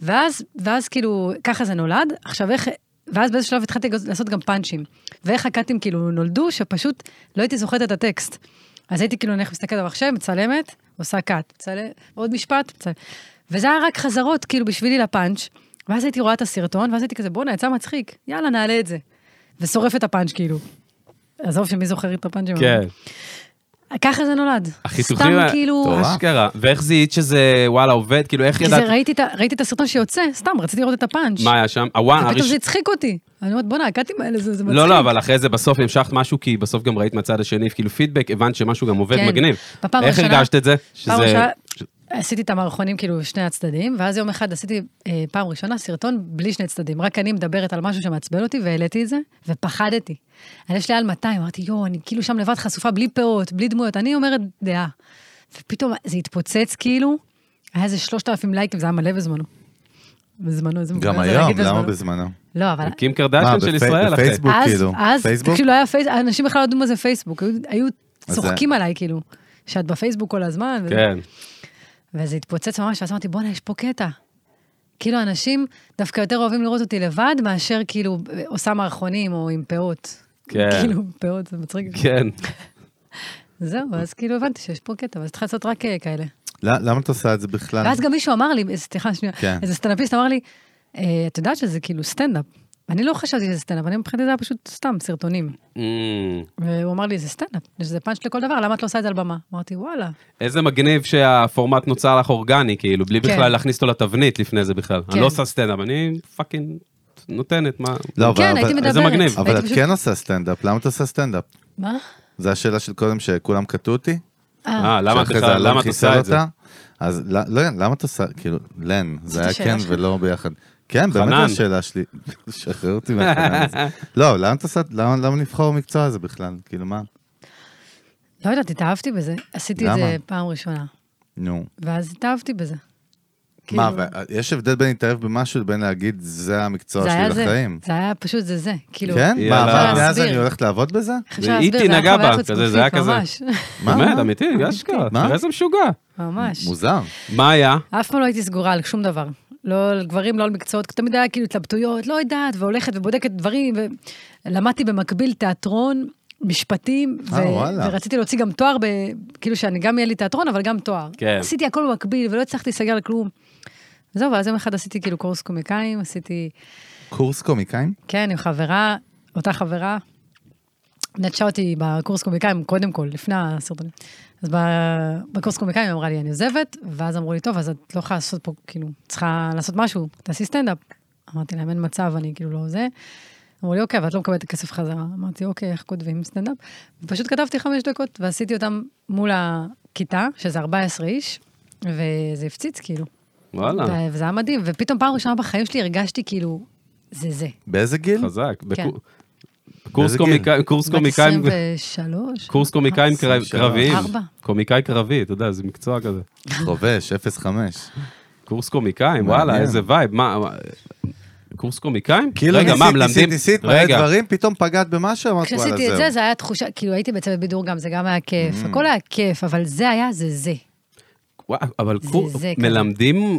B: ואז, ואז כאילו, ככה זה נולד. עכשיו איך, ואז באיזשהו שלב התחלתי גם- לעשות גם פאנצ'ים. ואיך הקאטים כאילו נולדו, שפשוט לא הייתי זוכרת את הטקסט. אז הייתי כאילו, נלך מסתכלת במחשב, מצלמת, עושה קאט, מצלמת, עוד משפט, מצלמת. וזה היה רק חזרות, כאילו, בשבילי לפאנץ'. ואז הייתי רואה את הסרטון, ואז הייתי כזה, בואנה, יצא מצחיק, יאללה, נעלה את זה. ושורף את הפאנץ', כאילו. עזוב שמי זוכר את הפאנצ'ים.
A: כן.
B: אבל- ככה זה נולד.
A: החיתוכים...
B: סתם
A: ה-
B: כאילו...
C: טוב. מטורף.
A: אשכרה. ואיך זיהית שזה, וואלה, עובד? כאילו, איך
B: כי זה,
A: ידעת?
B: ראיתי, את ה- ראיתי את הסרטון שיוצא, סתם, רציתי לראות את הפאנץ'.
A: מה היה שם? הוואן,
B: ופתאום
A: הראשון...
B: זה הצחיק אותי. אני אומרת, בואנה, הקאטים האלה, זה, זה מצחיק.
A: אה, לא, לא, אבל אחרי זה בסוף המשכת משהו, כי בסוף גם ראית מהצד השני, כאילו פידבק, הבנת שמשהו גם עובד
B: כן.
A: מגניב.
B: בפעם
A: איך
B: הראשונה-
A: הרגשת את זה?
B: פעם
A: שזה-
B: ראשונה עשיתי את המערכונים, כאילו, שני הצדדים, ואז יום אחד עשיתי אה, פעם ראשונה סרטון בלי שני צדדים. רק אני מדברת על משהו שמעצבן אותי, והעליתי את זה, ופחדתי. אני יש לי על 200, אמרתי, יואו, אני כאילו שם לבד חשופה, בלי פאות, בלי דמויות, אני אומרת דעה. ופתאום זה התפוצץ, כאילו, היה איזה 3,000 לייקים, זה היה מלא בזמנו. בזמנו, איזה
C: גם
B: מגניב זה
C: היום,
B: להגיד
C: למה
B: בזמנו.
C: בזמנו?
B: לא, אבל
A: קים
C: מה,
A: קרדשן של
C: בפי-
A: ישראל, אחי.
C: בפייסבוק? כאילו.
B: אז,
C: פייסבוק?
B: כאילו, לא היה פייסבוק, אנשים בכלל לא ידעו מה זה פייסבוק, היו- היו
C: אז
B: צוחקים עליי, כאילו, שאת בפייסבוק כל הזמן. וזה.
A: כן.
B: וזה התפוצץ ממש, ואז אמרתי, בואנה, יש פה קטע. כאילו, אנשים דווקא יותר אוהבים לראות אותי לבד, מאשר כאילו עושה מערכונים או עם פאות.
A: כן.
B: כאילו, עם פאות, זה מצחיק.
A: כן.
B: זהו, אז כאילו הבנתי שיש פה קטע, ואז התחלתי לעשות רק אה, כאלה.
C: ל- למה את עושה את זה בכלל?
B: ואז גם מישהו אמר לי, אה, סליחה, שנייה,
C: כן.
B: איזה סטנדאפיסט אמר לי, "אה, את יודעת שזה כאילו סטנדאפ. אני לא חשבתי שזה סטנדאפ, אני מבחינתי זה היה פשוט סתם סרטונים.
A: Mm,
B: והוא אמר לי, זה סטנדאפ, זה פאנץ' לכל דבר, למה את לא עושה את זה על במה? אמרתי, וואלה.
A: איזה מגניב שהפורמט נוצר לך אורגני, כאילו, בלי
B: כן.
A: בכלל להכניס אותו לתבנית לפני זה בכלל. אני
B: כן.
A: לא עושה סטנדאפ, אני פאקינג נותנת, מה...
C: לא, אבל-
B: כן,
C: אבל-
B: הייתי מדברת.
A: איזה מגניב.
B: הייתי
C: אבל את
B: פשוט-
C: כן עושה סטנדאפ, למה את עושה סטנדאפ?
B: מה?
C: זו השאלה של קודם שכולם קטעו אותי?
B: אה,
A: אה, למה את
C: שאחרי זה
A: בכלל,
C: אלון
A: למה את
C: לא חיסל
A: עושה את זה?
C: אותה? אז ל- לא, למה את עושה, כאילו, לן, זה היה
B: השאלה
C: כן
B: שלך?
C: ולא ביחד. כן, באמת
A: חנן.
C: השאלה שלי. שחרר אותי מהחנן הזה. לא, למה את עושה, למה למה לבחור במקצוע הזה בכלל? כאילו, מה?
B: לא יודעת, התאהבתי בזה. עשיתי את
C: למה?
B: זה פעם ראשונה,
C: נו.
B: ואז התאהבתי בזה.
C: מה,
B: כאילו,
C: ו- יש הבדל בין להתאהב במשהו לבין להגיד, זה המקצוע
B: זה היה
C: לא שלי
B: זה,
C: לחיים.
B: זה היה פשוט זה זה, כאילו.
C: כן?
A: יאללה.
C: מה, מה, מאז
B: להסביר.
C: אני הולכת לעבוד בזה?
B: איך אפשר להסביר?
A: ואיטי
B: זה היה
A: נגע
B: חוויה
A: בה,
B: חוץ
A: כזה, זה היה
B: גופית,
A: כזה.
B: ממש,
C: מה?
A: באמת,
C: מה?
A: אמיתי, אשכרה,
C: מה?
A: תראה איזה משוגע.
B: ממש.
C: מוזר.
A: מה היה?
B: אף פעם לא הייתי סגורה על שום דבר. לא על גברים, לא על מקצועות, תמיד היה כאילו התלבטויות, לא יודעת, והולכת ובודקת דברים, ולמדתי במקביל תיאטרון, משפטים, ו...
C: אה, וואלה.
B: ורציתי להוציא גם תואר, ב... כאילו שאני גם יהיה לי תיאטרון, אבל גם תואר.
A: כן.
B: עשיתי הכל במקביל, ולא הצלחתי להיסגר על כלום. זהו, ואז יום אחד עשיתי כאילו קורס קומיקאים, עשיתי,
C: קורס קומיקאים?
B: כן, עם חברה, אותה חברה, נטשה אותי בקורס קומיקאים, קודם כל, לפני הסרטונים. אז ב- בקורס קומיקאים היא אמרה לי, אני עוזבת, ואז אמרו לי, טוב, אז את לא יכולה לעשות פה, כאילו, צריכה לעשות משהו, תעשי סטנדאפ. אמרתי להם, אין מצב, אני כאילו לא זה. אמרו לי, אוקיי, אבל את לא מקבלת את הכסף חזרה. אמרתי, אוקיי, איך כותבים סטנדאפ? ופשוט כתבתי חמש דקות, ועשיתי אותם מול הכיתה, שזה 14 איש, וזה הפציץ, כאילו.
A: וואלה,
B: ו- וזה היה מדהים, ופתאום פעם ראשונה בחיים שלי הרגשתי כאילו, זה זה.
C: באיזה גיל?
A: חזק. בקו-
B: כן.
A: קורס
C: באיזה
A: קומיקאי- קורס קומיקאים...
B: בת 23.
A: קורס קומיקאים
B: אה,
A: קרב-
C: שלוש.
A: קרביים.
B: ארבע.
A: קומיקאי קרבי, אתה יודע, זה מקצוע כזה.
C: חובש, 05.
A: קורס קומיקאים,
C: מעניין.
A: וואלה, איזה וייב, מה... מה- קורס קומיקאים?
C: כאילו
A: רגע, מה,
C: ניסית, ניסית,
A: מלמדים?
C: ניסית, מלא
A: רגע,
C: דברים, פתאום פגעת במשהו, אמרת וואלה, זהו.
B: כשעשיתי את זה, זה היה תחושה, כאילו הייתי בצוות בידור גם, זה גם היה כיף,
A: Mm.
B: הכל היה כיף, אבל זה היה זה זה.
A: וואו, אבל
B: זה-
A: קור-
B: זה כזה.
A: מלמדים,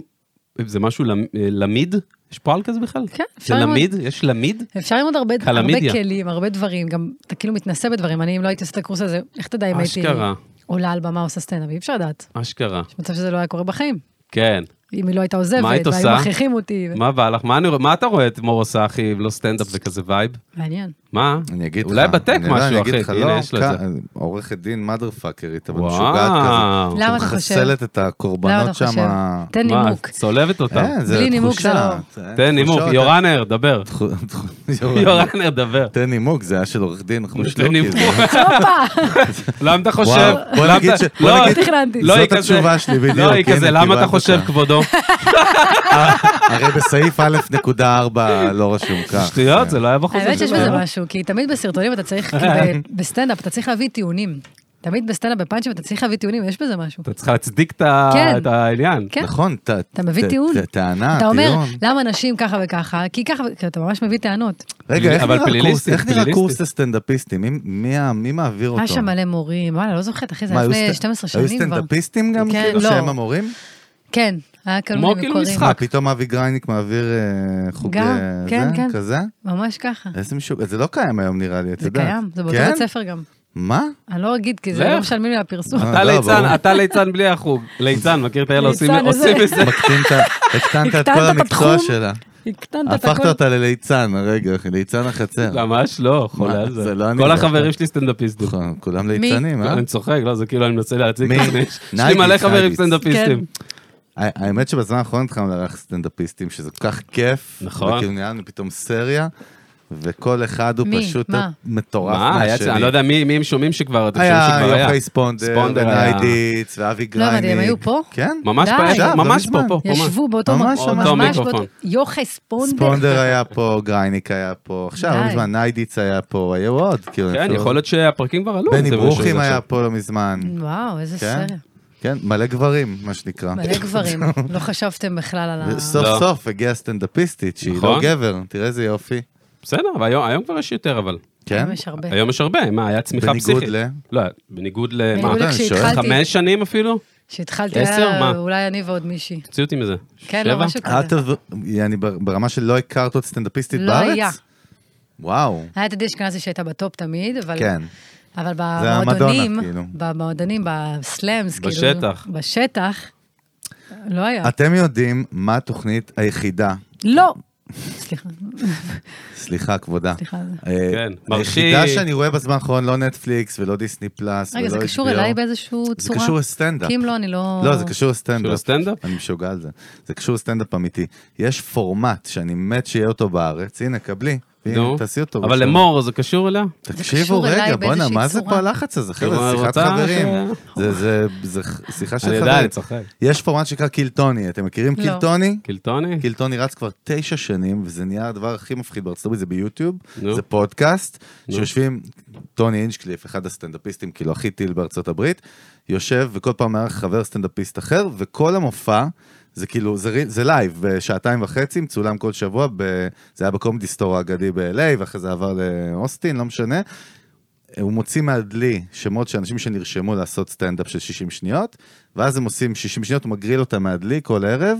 A: זה משהו למ- למיד? יש פועל כזה בכלל?
B: כן, אפשר
A: זה
B: ללמוד.
A: למיד? יש למיד?
B: אפשר ללמוד הרבה
A: קלמידיה.
B: הרבה כלים, הרבה דברים, גם אתה כאילו מתנסה בדברים, אני אם לא הייתי עושה את הקורס הזה, איך תדע אם הייתי
A: אשכרה.
B: עולה על במה עושה סטנדאפ, אי אפשר לדעת.
A: אשכרה.
B: יש מצב שזה לא היה קורה בחיים.
A: כן.
B: אם היא לא הייתה עוזבת,
A: מה היית
B: והיו
A: עושה?
B: מכריחים אותי. ו-
A: מה בא לך? מה אני רואה- מה אתה רואה את מור עושה, אחי, אם לא סטנדאפ וכזה וייב?
B: מעניין.
A: מה?
C: אני אגיד לך.
A: אולי בטק
C: אני לא, אני
A: משהו,
C: אגיד לך,
A: אחי.
C: לא,
A: הנה, יש לו את זה.
C: כ- עורכת דין מאדר פאקרית, אבל משוגעת כזאת.
A: וואו.
B: למה אתה חושב?
C: מחסלת את
B: למה
C: הקורבנות
B: אתה חושב?
C: שם.
B: תן
A: מה,
B: נימוק.
A: צולבת אותה.
C: אין, אה, זה
B: בלי נימוק
C: תחושה.
B: זה לא.
C: אין,
A: תן נימוק.
C: תחושות,
A: יורנר, דבר.
C: אין- תחו- תחו- יורן.
A: יורנר, דבר.
C: תן נימוק, זה היה של עורך דין, אנחנו
A: תן
C: שלוקי.
A: נימוק.
C: זה-
B: הופה,
A: למה אתה חושב?
C: וואו, בוא
A: למה
C: נגיד
A: אתה-
C: ש- בוא
A: לא,
B: לא
C: נגיד-
B: תכננתי.
A: לא, היא
C: זאת
A: כזה-
C: התשובה שלי בדיוק.
A: לא, היא
C: הנה,
A: כזה, למה אתה
C: קיבלת
A: חושב,
C: אותה."
A: כבודו?
C: הרי בסעיף א' נקודה ארבע לא רשום כך.
A: שטויות, זה לא היה בחוזה.
B: האמת שיש
A: שלנו.
B: בזה משהו, כי תמיד בסרטונים אתה צריך, כי ב- בסטנדאפ אתה צריך להביא טיעונים. תמיד בסטנדאפ בפאנצ'ים אתה צריך להביא טיעונים, יש בזה משהו.
A: אתה צריך להצדיק את ה-
B: כן.
A: את העניין.
B: כן.
C: נכון, ת-
B: אתה מביא
C: ת-
B: טיעון.
C: ת- טענה,
B: אתה אומר,
C: טיעון.
B: למה נשים ככה וככה? כי ככה, ו- כי אתה ממש מביא טענות.
C: רגע, איך
A: אבל
C: נראה קורס-
A: פליליסטים,
C: איך נראה
A: פליליסטים.
C: קורס לסטנדאפיסטים? מי- מי ה- מי מעביר אותו?
B: היה שם מלא מורים, וואלה, לא זוכרת, אחי, זה
C: לא מה,
B: היה
C: היו
B: לפני
C: סט-
B: 12
C: היו
B: שנים כבר.
C: סטנדאפיסטים גם,
B: כן,
C: כאילו,
B: לא.
C: שהם המורים?
B: כן, היה כל
A: כמו
B: מיני
A: כאילו
B: מקורים.
A: משחק.
C: מה, פתאום אבי גרייניק מעביר אה, חוג
B: גם,
C: אה,
B: כן,
C: זה,
B: כן.
C: כזה?
B: ממש ככה.
C: איזה משהו, זה לא קיים היום נראה לי, את
B: זה
C: יודעת.
B: קיים, זה באותו
C: כן?
B: בית ספר גם.
C: מה?
B: אני לא אגיד, כי זה
A: לך.
B: לא משלמים לי על הפרסום.
C: אה,
A: אתה
C: לא, ברור.
A: ליצן, אתה ליצן בלי החוג. ליצן, מכיר את האלה עושים
B: ליצן,
A: עושים
B: איזה-
A: את זה.
C: מקטין את ה- הקטנת את
B: הקטנת
C: כל
B: את
C: המקצוע
B: התחום.
C: שלה.
B: הקטנת את
C: הפכת
B: הכל.
C: אותה לליצן, רגע, אחי, ליצן החצר.
A: ממש לא, חולה על
C: מה, זה לא
A: זה.
C: אני,
A: כל
C: זה
A: החברים
C: אתה.
A: שלי סטנדאפיסטים.
C: נכון, כולם ליצנים, אה?
A: אני צוחק, לא, זה כאילו אני מנסה להציג.
C: מי?
A: את עצמי. יש לי
C: נייגיץ,
A: מלא חברים
C: נייגיץ.
A: סטנדאפיסטים.
B: כן.
C: ה- האמת שבזמן האחרון התחלנו לארח סטנדאפיסטים, שזה כל כך כיף.
A: נכון.
C: וכאילו נהיה לנו פתאום סריה, וכל אחד הוא
B: מי?
C: פשוט
B: מה?
C: מטורף
A: מה, היה
C: מהשני.
A: צ- אני לא יודע מי מי הם שומעים שכבר, אתם שומעים
C: היה
A: שכבר
C: יוחאי
A: היה.
C: ספונדר,
A: ספונדר היה.
C: וניידיץ, ואבי
B: לא
C: גרייניק.
B: הבנתי, הם היו פה?
C: כן.
A: ממש
B: די.
A: פה,
C: עכשיו,
A: ממש
C: לא
A: פה,
C: מזמן.
A: פה, פה. ממש.
B: ישבו באותו
C: ממש,
B: מקום,
C: ממש.
B: ממש
A: אותו
B: באותו... יוחאי ספונדר.
C: ספונדר היה פה, גרייניק היה פה, עכשיו, לא
B: די.
C: מזמן, ניידיץ היה פה, היו עוד. כאילו,
A: כן,
C: אפילו-
A: יכול להיות שהפרקים כבר עלו.
C: בני
A: אתם
C: ברוכים
A: שומעים
C: היה
A: עכשיו.
C: פה לא מזמן.
B: וואו, איזה
C: כן?
B: סרט.
C: כן, מלא גברים, מה שנקרא.
B: מלא גברים. לא חשבתם בכלל על ה...
C: סוף
A: לא.
C: סוף הגיעה סטנדאפיסטית שהיא לא
A: נכון.
C: גבר, תראה איזה יופי.
A: בסדר, אבל היום- היום כבר יש יותר, אבל.
C: כן?
B: יש הרבה.
A: היום יש הרבה, מה, היה צמיחה
C: בניגוד
A: פסיכית.
C: ל-
A: לא, בניגוד ל... מה,
B: בניגוד
C: אני שואל.
B: כשהתחלתי,
A: חמש שנים אפילו?
B: כשהתחלתי,
A: עשר?
B: היה
A: מה?
B: אולי אני ועוד מישהי.
A: הוציאו אותי מזה.
B: כן, לא,
A: שבע?
B: משהו
C: אה,
B: כזה.
C: אתה- יעני, בר- ברמה שלא הכרת עוד סטנדאפיסטית
B: לא
C: בארץ?
B: היה.
C: וואו,
B: היה את עדי אשכנזי שהייתה בטופ תמיד, אבל...
C: כן.
B: אבל
C: המדונה,
B: במועדונים,
C: כאילו.
B: במועדונים, בסלאמס, כאילו...
A: בשטח.
B: בשטח, לא היה.
C: אתם יודעים מה התוכנית היחידה,
B: לא! סליחה,
C: סליחה כבודה.
B: סליחה. על זה.
C: אה,
A: כן,
C: היחידה
A: מרחיק.
C: שאני רואה בזמן האחרון, לא נטפליקס ולא דיסני פלאס ולא
B: רגע, זה קשור
C: לא HBO.
B: אליי באיזשהו צורה?
C: זה קשור לסטנדאפ.
B: כי אם לא, אני לא...
C: לא, זה קשור
A: קשור
C: לסטנדאפ.
A: לסטנדאפ?
C: אני משוגע על זה. זה קשור לסטנדאפ אמיתי. יש פורמט שאני מת שיהיה אותו בארץ, הנה, קבלי. הנה,
A: נו.
C: אה, תעשי אותו.
A: אבל
C: ראשון.
A: למור זה קשור אליה?
C: תקשיבו
B: קשור אליי
C: רגע,
B: באיזושהי
C: בואנה, מה זה
B: צורה.
C: פה הלחץ הזה? חבר'ה,
A: כלומר,
C: זה שיחת
A: כאילו, רוצה
C: חברים.
A: ש-
C: זה- זה- זה ח- שיחה של
A: אני
C: חברים.
A: יודע, אני צוחק.
C: יש פורמט שנקרא קילטוני, אתם מכירים
B: לא.
C: קילטוני?
A: קילטוני?
C: קילטוני כאילו, רץ כבר תשע שנים, וזה נהיה הדבר הכי מפחיד בארצות הברית, זה ביוטיוב,
A: נו.
C: זה פודקאסט,
A: נו.
C: שיושבים, טוני אינשקליף, אחד הסטנדאפיסטים, כאילו הכי טיל בארצות הברית, יושב וכל פעם מארח חבר סטנדאפיסט אחר, וכל המופע, זה כאילו, זה, רי- זה לייב, בשעתיים וחצי, מצולם כל שבוע, ב, זה היה בקומדי סטור האגדי ב-LA, ואחרי זה עבר לאוסטין, לא משנה. הוא מוציא מהדלי שמות של אנשים שנרשמו לעשות סטנדאפ של 60 שניות, ואז הם עושים 60 שניות, הוא מגריל אותם מהדלי כל ערב,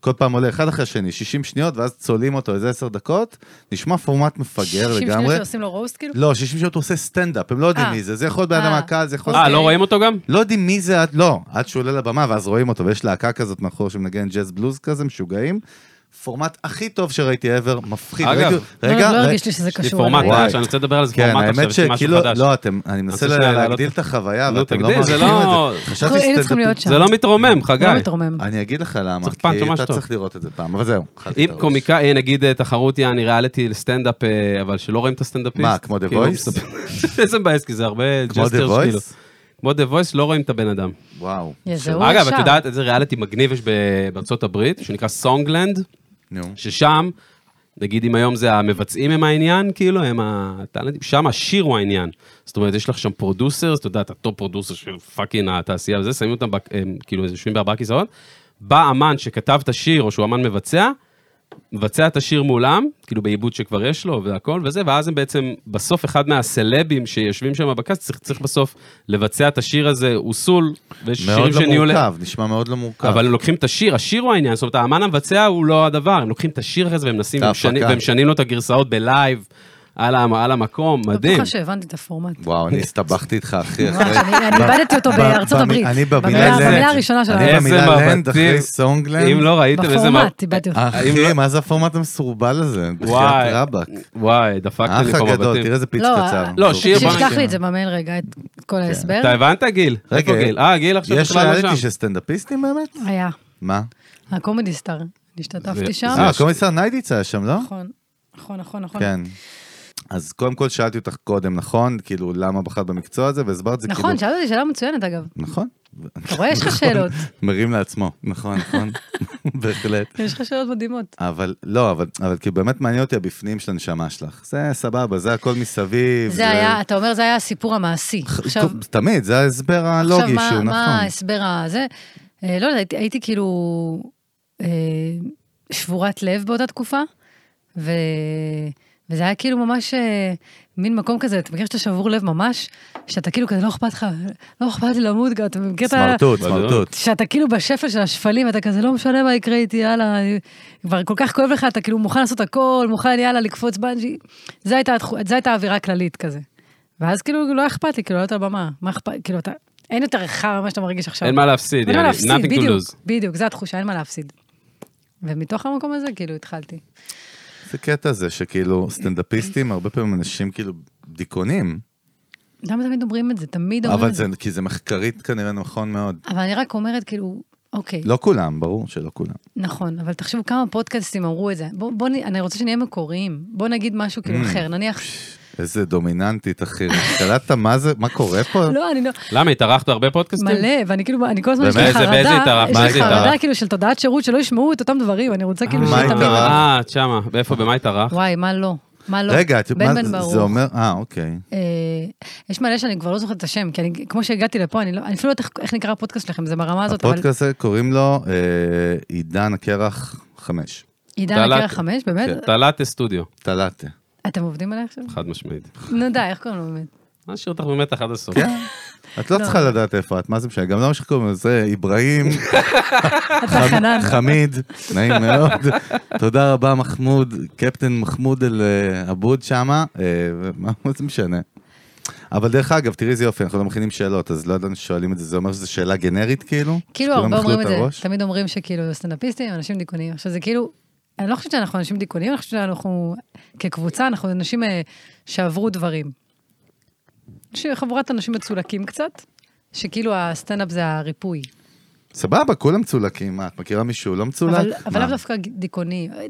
C: כל פעם עולה אחד אחרי השני, 60 שניות, ואז צולעים אותו איזה 10 דקות, נשמע פורמט מפגר
B: 60
C: לגמרי.
B: שניות שעושים לו רוסט, כאילו?
C: לא, 60 שניות הוא עושה סטנדאפ, הם לא יודעים
B: אה.
C: מי זה, זה יכול להיות בן אדם
B: אה.
C: מהקהל, זה יכול
A: אה,
C: להיות...
A: לא רואים אותו גם?
C: לא יודעים מי זה, עד- לא, עד שהוא עולה לבמה ואז רואים אותו, ויש להקה כזאת מאחור שמנגן ג'אז בלוז כזה, משוגעים. פורמט הכי טוב שראיתי ever, מפחיד.
A: אגב.
C: ראיתי-
B: לא,
C: רגע,
B: לא
C: רגע,
B: הרגיש לי שזה
A: יש לי
B: קשור
A: פורמט,
B: אליי.
C: וואי.
A: אה, שאני רוצה לדבר על זה
C: כן,
A: פורמט
C: האמת
A: עכשיו, יש לי משהו
C: שכאילו,
A: חדש.
C: לא, אתם, אני מנסה
A: רוצה שנייה להעלות
C: להגדיל
A: את-
C: את החוויה,
A: נו,
C: אבל אתם לא
A: תגדיל, זה
C: מעריכים
A: לא-
C: את זה. חשבתי
B: היינו אוקיי, צריכים להיות
C: סטנדאפיסט.
B: שם.
A: זה לא מתרומם, חגי.
B: לא מתרומם.
C: אני אגיד לך למה,
A: צריך פעם,
C: כי
A: ממש
C: אתה
A: טוב.
C: צריך לראות את זה פעם, אבל זהו. אכלתי את
A: אם
C: הראש.
A: קומיקאי, נגיד אה, תחרות יעני ריאליטי לסטנדאפ, אה, אבל שלא רואים את הסטנדאפיסט.
C: מה, כמו The
A: כאילו,
C: Voice?
A: מספר- איזה מבאס, כי זה הרבה
C: כמו The
A: ג'סטר
C: Voice?
A: כאילו. כמו The Voice לא רואים את הבן אדם.
C: וואו.
B: יזהו
A: אגב, את
B: ישר.
A: יודעת איזה ריאליטי מגניב יש ב- בארצות הברית, שנקרא סונגלנד,
C: נו.
A: ששם, נגיד אם היום זה המבצעים הם העניין, כאילו, הם הטאלנטים, שם השיר הוא העניין. זאת אומרת, יש לך שם פרודוסר, אתה יודע, אתה טופ פרודוסר של פאקינג התעשייה וזה, שמים אותם, בק- הם, כאילו, יושבים בארבעה כיסאות, בא אמן שכתב את השיר, או שהוא אמן מבצע, מבצע את השיר מולם, כאילו בעיבוד שכבר יש לו והכל וזה, ואז הם בעצם, בסוף אחד מהסלבים שיושבים שם בקאסט, צריך, צריך בסוף לבצע את השיר הזה, הוא סול, ויש
C: מאוד
A: שירים
C: לא
A: שנהיו ל-
C: מורכב, נשמע מאוד לא מורכב.
A: אבל הם לוקחים את השיר, השיר הוא העניין, זאת אומרת, האמן המבצע הוא לא הדבר, הם לוקחים את השיר אחרי זה והם מנסים,
C: את
A: והם משנים-
C: ההפקה.
A: והם משנים לו את הגרסאות בלייב. על המ- על המקום,
B: לא
A: מדהים. לא
B: בטוחה שהבנתי את הפורמט.
C: וואו, אני הסתבכתי איתך, אחי.
B: ממש,
C: אחרי-
B: אני- אני איבדתי אותו
C: ב-
B: בארצות
C: במ-
B: הברית.
C: אני
B: במילה
C: במילה לנד.
B: במילה הראשונה של
C: אני
B: האלבום.
A: איזה
C: במילה לנד אחרי
A: מבטים.
C: סונגלנד.
A: אם לא ראיתם איזה... מב-
B: בפורמט, איבדתי אותו.
A: אם
C: אחי,
A: לא-
C: מה זה הפורמט המסורבל הזה?
A: וואי.
C: בחייאת רבאק.
A: וואי, דפקת לי
C: האח
A: פה
C: הגדול,
A: מבטים.
C: תראה איזה פיץ
B: לא,
C: קצר. כן.
A: לא, שיר, בוא
B: תשלח
A: נשמע.
B: לי את זה במייל רגע, את כל ההסבר.
A: אתה הבנת, גיל?
C: רגע,
A: איפה גיל? אה, גיל עכשיו
C: יש
A: בכלל לא
C: ריאליטי
A: שם.
C: של סטנדאפיסטים באמת? אה,
B: היה,
C: מה?
B: הקומדי סטאר. השתתפתי
A: זה-
B: שם.
A: זה-
C: אה, קומיסר ניידיץ היה שם, לא?
B: נכון, נכון, נכון, נכון.
C: כן. אז קודם כל שאלתי אותך קודם, נכון? כאילו, למה בחרת במקצוע הזה? והסברת זה כאילו...
B: נכון, שאלת אותי שאלה מצוינת אגב.
C: נכון.
B: אתה רואה, יש לך שאלות.
C: מרים לעצמו. נכון, נכון. בהחלט.
B: יש לך שאלות מדהימות.
C: אבל לא, אבל, אבל כי באמת מעניין אותי הבפנים של הנשמה שלך. זה סבבה, זה הכל מסביב.
B: זה היה, אתה אומר, זה היה הסיפור המעשי. עכשיו,
C: תמיד, זה ההסבר
B: עכשיו
C: הלוגי
B: מה-
C: שהוא נכון.
B: מה ההסבר הזה? אה, לא יודעת, הייתי- הייתי כאילו אה, שבורת לב באותה תקופה, ו... וזה היה כאילו ממש אה, מין מקום כזה, אתה מכיר שאתה שבור לב ממש? שאתה כאילו כזה, לא אכפת לך, לא אכפת לי למות גם, אתה מכיר את ה...
C: סמרטוט,
A: בדיוק.
C: סמרטוט.
B: שאתה כאילו בשפל של השפלים, אתה כזה לא משנה מה יקרה איתי, יאללה, אני- כבר כל כך כואב לך, אתה כאילו מוכן לעשות הכל, מוכן יאללה לקפוץ בנג'י. זו הייתה, התחו- זו הייתה האווירה הכללית כזה. ואז כאילו לא אכפת לי, כאילו לעלות על במה, מה אכפת, כאילו אתה, אין יותר חרא ממה שאתה מרגיש עכשיו.
A: אין מה להפסיד,
B: אין מה
A: יעני,
B: להפסיד,
A: nothing to
B: בדיוק,
A: lose.
B: בדיוק, זו התחושה, אין מה להפסיד. ומתוך המקום הזה כאילו התחלתי.
C: זה קטע זה שכאילו סטנדאפיסטים, הרבה פעמים אנשים כאילו דיכאונים,
B: למה תמיד אומרים את זה? תמיד אומרים
C: אבל
B: את
C: זה,
B: זה.
C: כי זה מחקרית כנראה נכון מאוד.
B: אבל אני רק אומרת כאילו, אוקיי,
C: לא כולם, ברור שלא כולם.
B: נכון, אבל תחשבו כמה פודקאסטים אמרו את זה. בוא, בוא, נ- אני רוצה שנהיה מקוריים. בוא נגיד משהו כאילו
C: Mm.
B: אחר, נניח...
C: איזה דומיננטית, אחי. קלטת מה זה, מה קורה פה?
B: לא, אני לא...
A: למה, התארחת בהרבה פודקאסטים?
B: מלא, ואני כאילו, אני כל הזמן, יש לי
A: באמת? זה- באיזה
B: חרדה,
A: התארחת?
B: יש
A: מה
B: לי
A: זה
B: חרדה
A: התארחת?
B: כאילו של תודעת שירות, שלא ישמעו את אותם דברים, אני רוצה כאילו
C: מה
B: שתמיד...
C: התארחת?
A: אה, את שמה, ואיפה, במה התארחת?
B: וואי, מה לא? מה לא?
C: רגע, את-
B: בן
C: מה
B: בן
C: זה-
B: ברוך.
C: זה אומר, אה, אוקיי.
B: אה, יש מלא שאני כבר לא זוכרת את השם, כי אני, כמו שהגעתי לפה, אני, לא, אני אפילו לא יודעת איך- איך נקרא הפודקאסט שלכם, זה ברמה הזאת, אבל...
C: הפודקאסט הזה קוראים לו אה, עידן הקרח 5,
B: עידן
A: תעלת. כן,
B: הקרח חמש, באמת?
C: כן.
A: תעלת סטודיו,
C: טלטה.
B: אתם עובדים עליי עכשיו?
A: חד משמעית.
B: נו די, איך קוראים לו באמת?
A: אני אשאיר אותך באמת עד הסוף.
C: כן. את לא צריכה לדעת איפה את, מה זה משנה, גם לא מה שקוראים לזה, זה אברהים,
B: אתה חנן.
C: חמיד, נעים מאוד. תודה רבה, מחמוד, קפטן מחמוד אל אה, עבוד שמה, אה, ומה מה זה משנה. אבל דרך אגב, תראי איזה יופי, אנחנו לא מכינים שאלות, אז לא ידענו ששואלים את זה, זה אומר שזו שאלה גנרית כאילו?
B: כאילו
C: שכולם
B: הרבה
C: אכלו
B: אומרים את זה,
C: הראש?
B: תמיד אומרים שכאילו סטנדאפיסטים, אנשים דיכאוניים. עכשיו זה כאילו, אני לא חושבת שאנחנו אנשים דיכאוניים, אני חושבת שאנחנו כקבוצה, אנחנו אנשים אה, שעברו דברים. שחבורת אנשים מצולקים קצת, שכאילו הסטנדאפ זה הריפוי.
C: סבבה, כולם צולקים, מה, את מכירה מישהו לא מצולק?
B: אבל אבל
C: מה?
B: לאו דווקא דיכאוני, אה,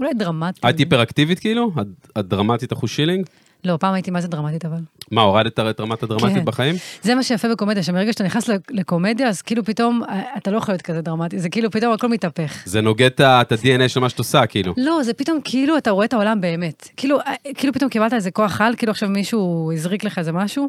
B: אולי דרמטי.
A: את היפראקטיבית כאילו? את- את דרמטית אחוז שילינג?
B: לא, פעם הייתי מה זה דרמטית אבל.
A: מה, הורדת את רמת הדרמטית
B: כן.
A: בחיים?
B: זה מה שיפה בקומדיה, שמרגע שאתה נכנס ל- לקומדיה, אז כאילו פתאום, אה, אתה לא יכול להיות כזה דרמטי, זה כאילו פתאום הכל מתהפך.
A: זה נוגד את ה- את ה-DNA של מה שאת עושה, כאילו.
B: לא, זה פתאום כאילו אתה רואה את העולם באמת. כאילו, אה, כאילו פתאום קיבלת איזה כוח על, כאילו עכשיו מישהו הזריק לך איזה משהו,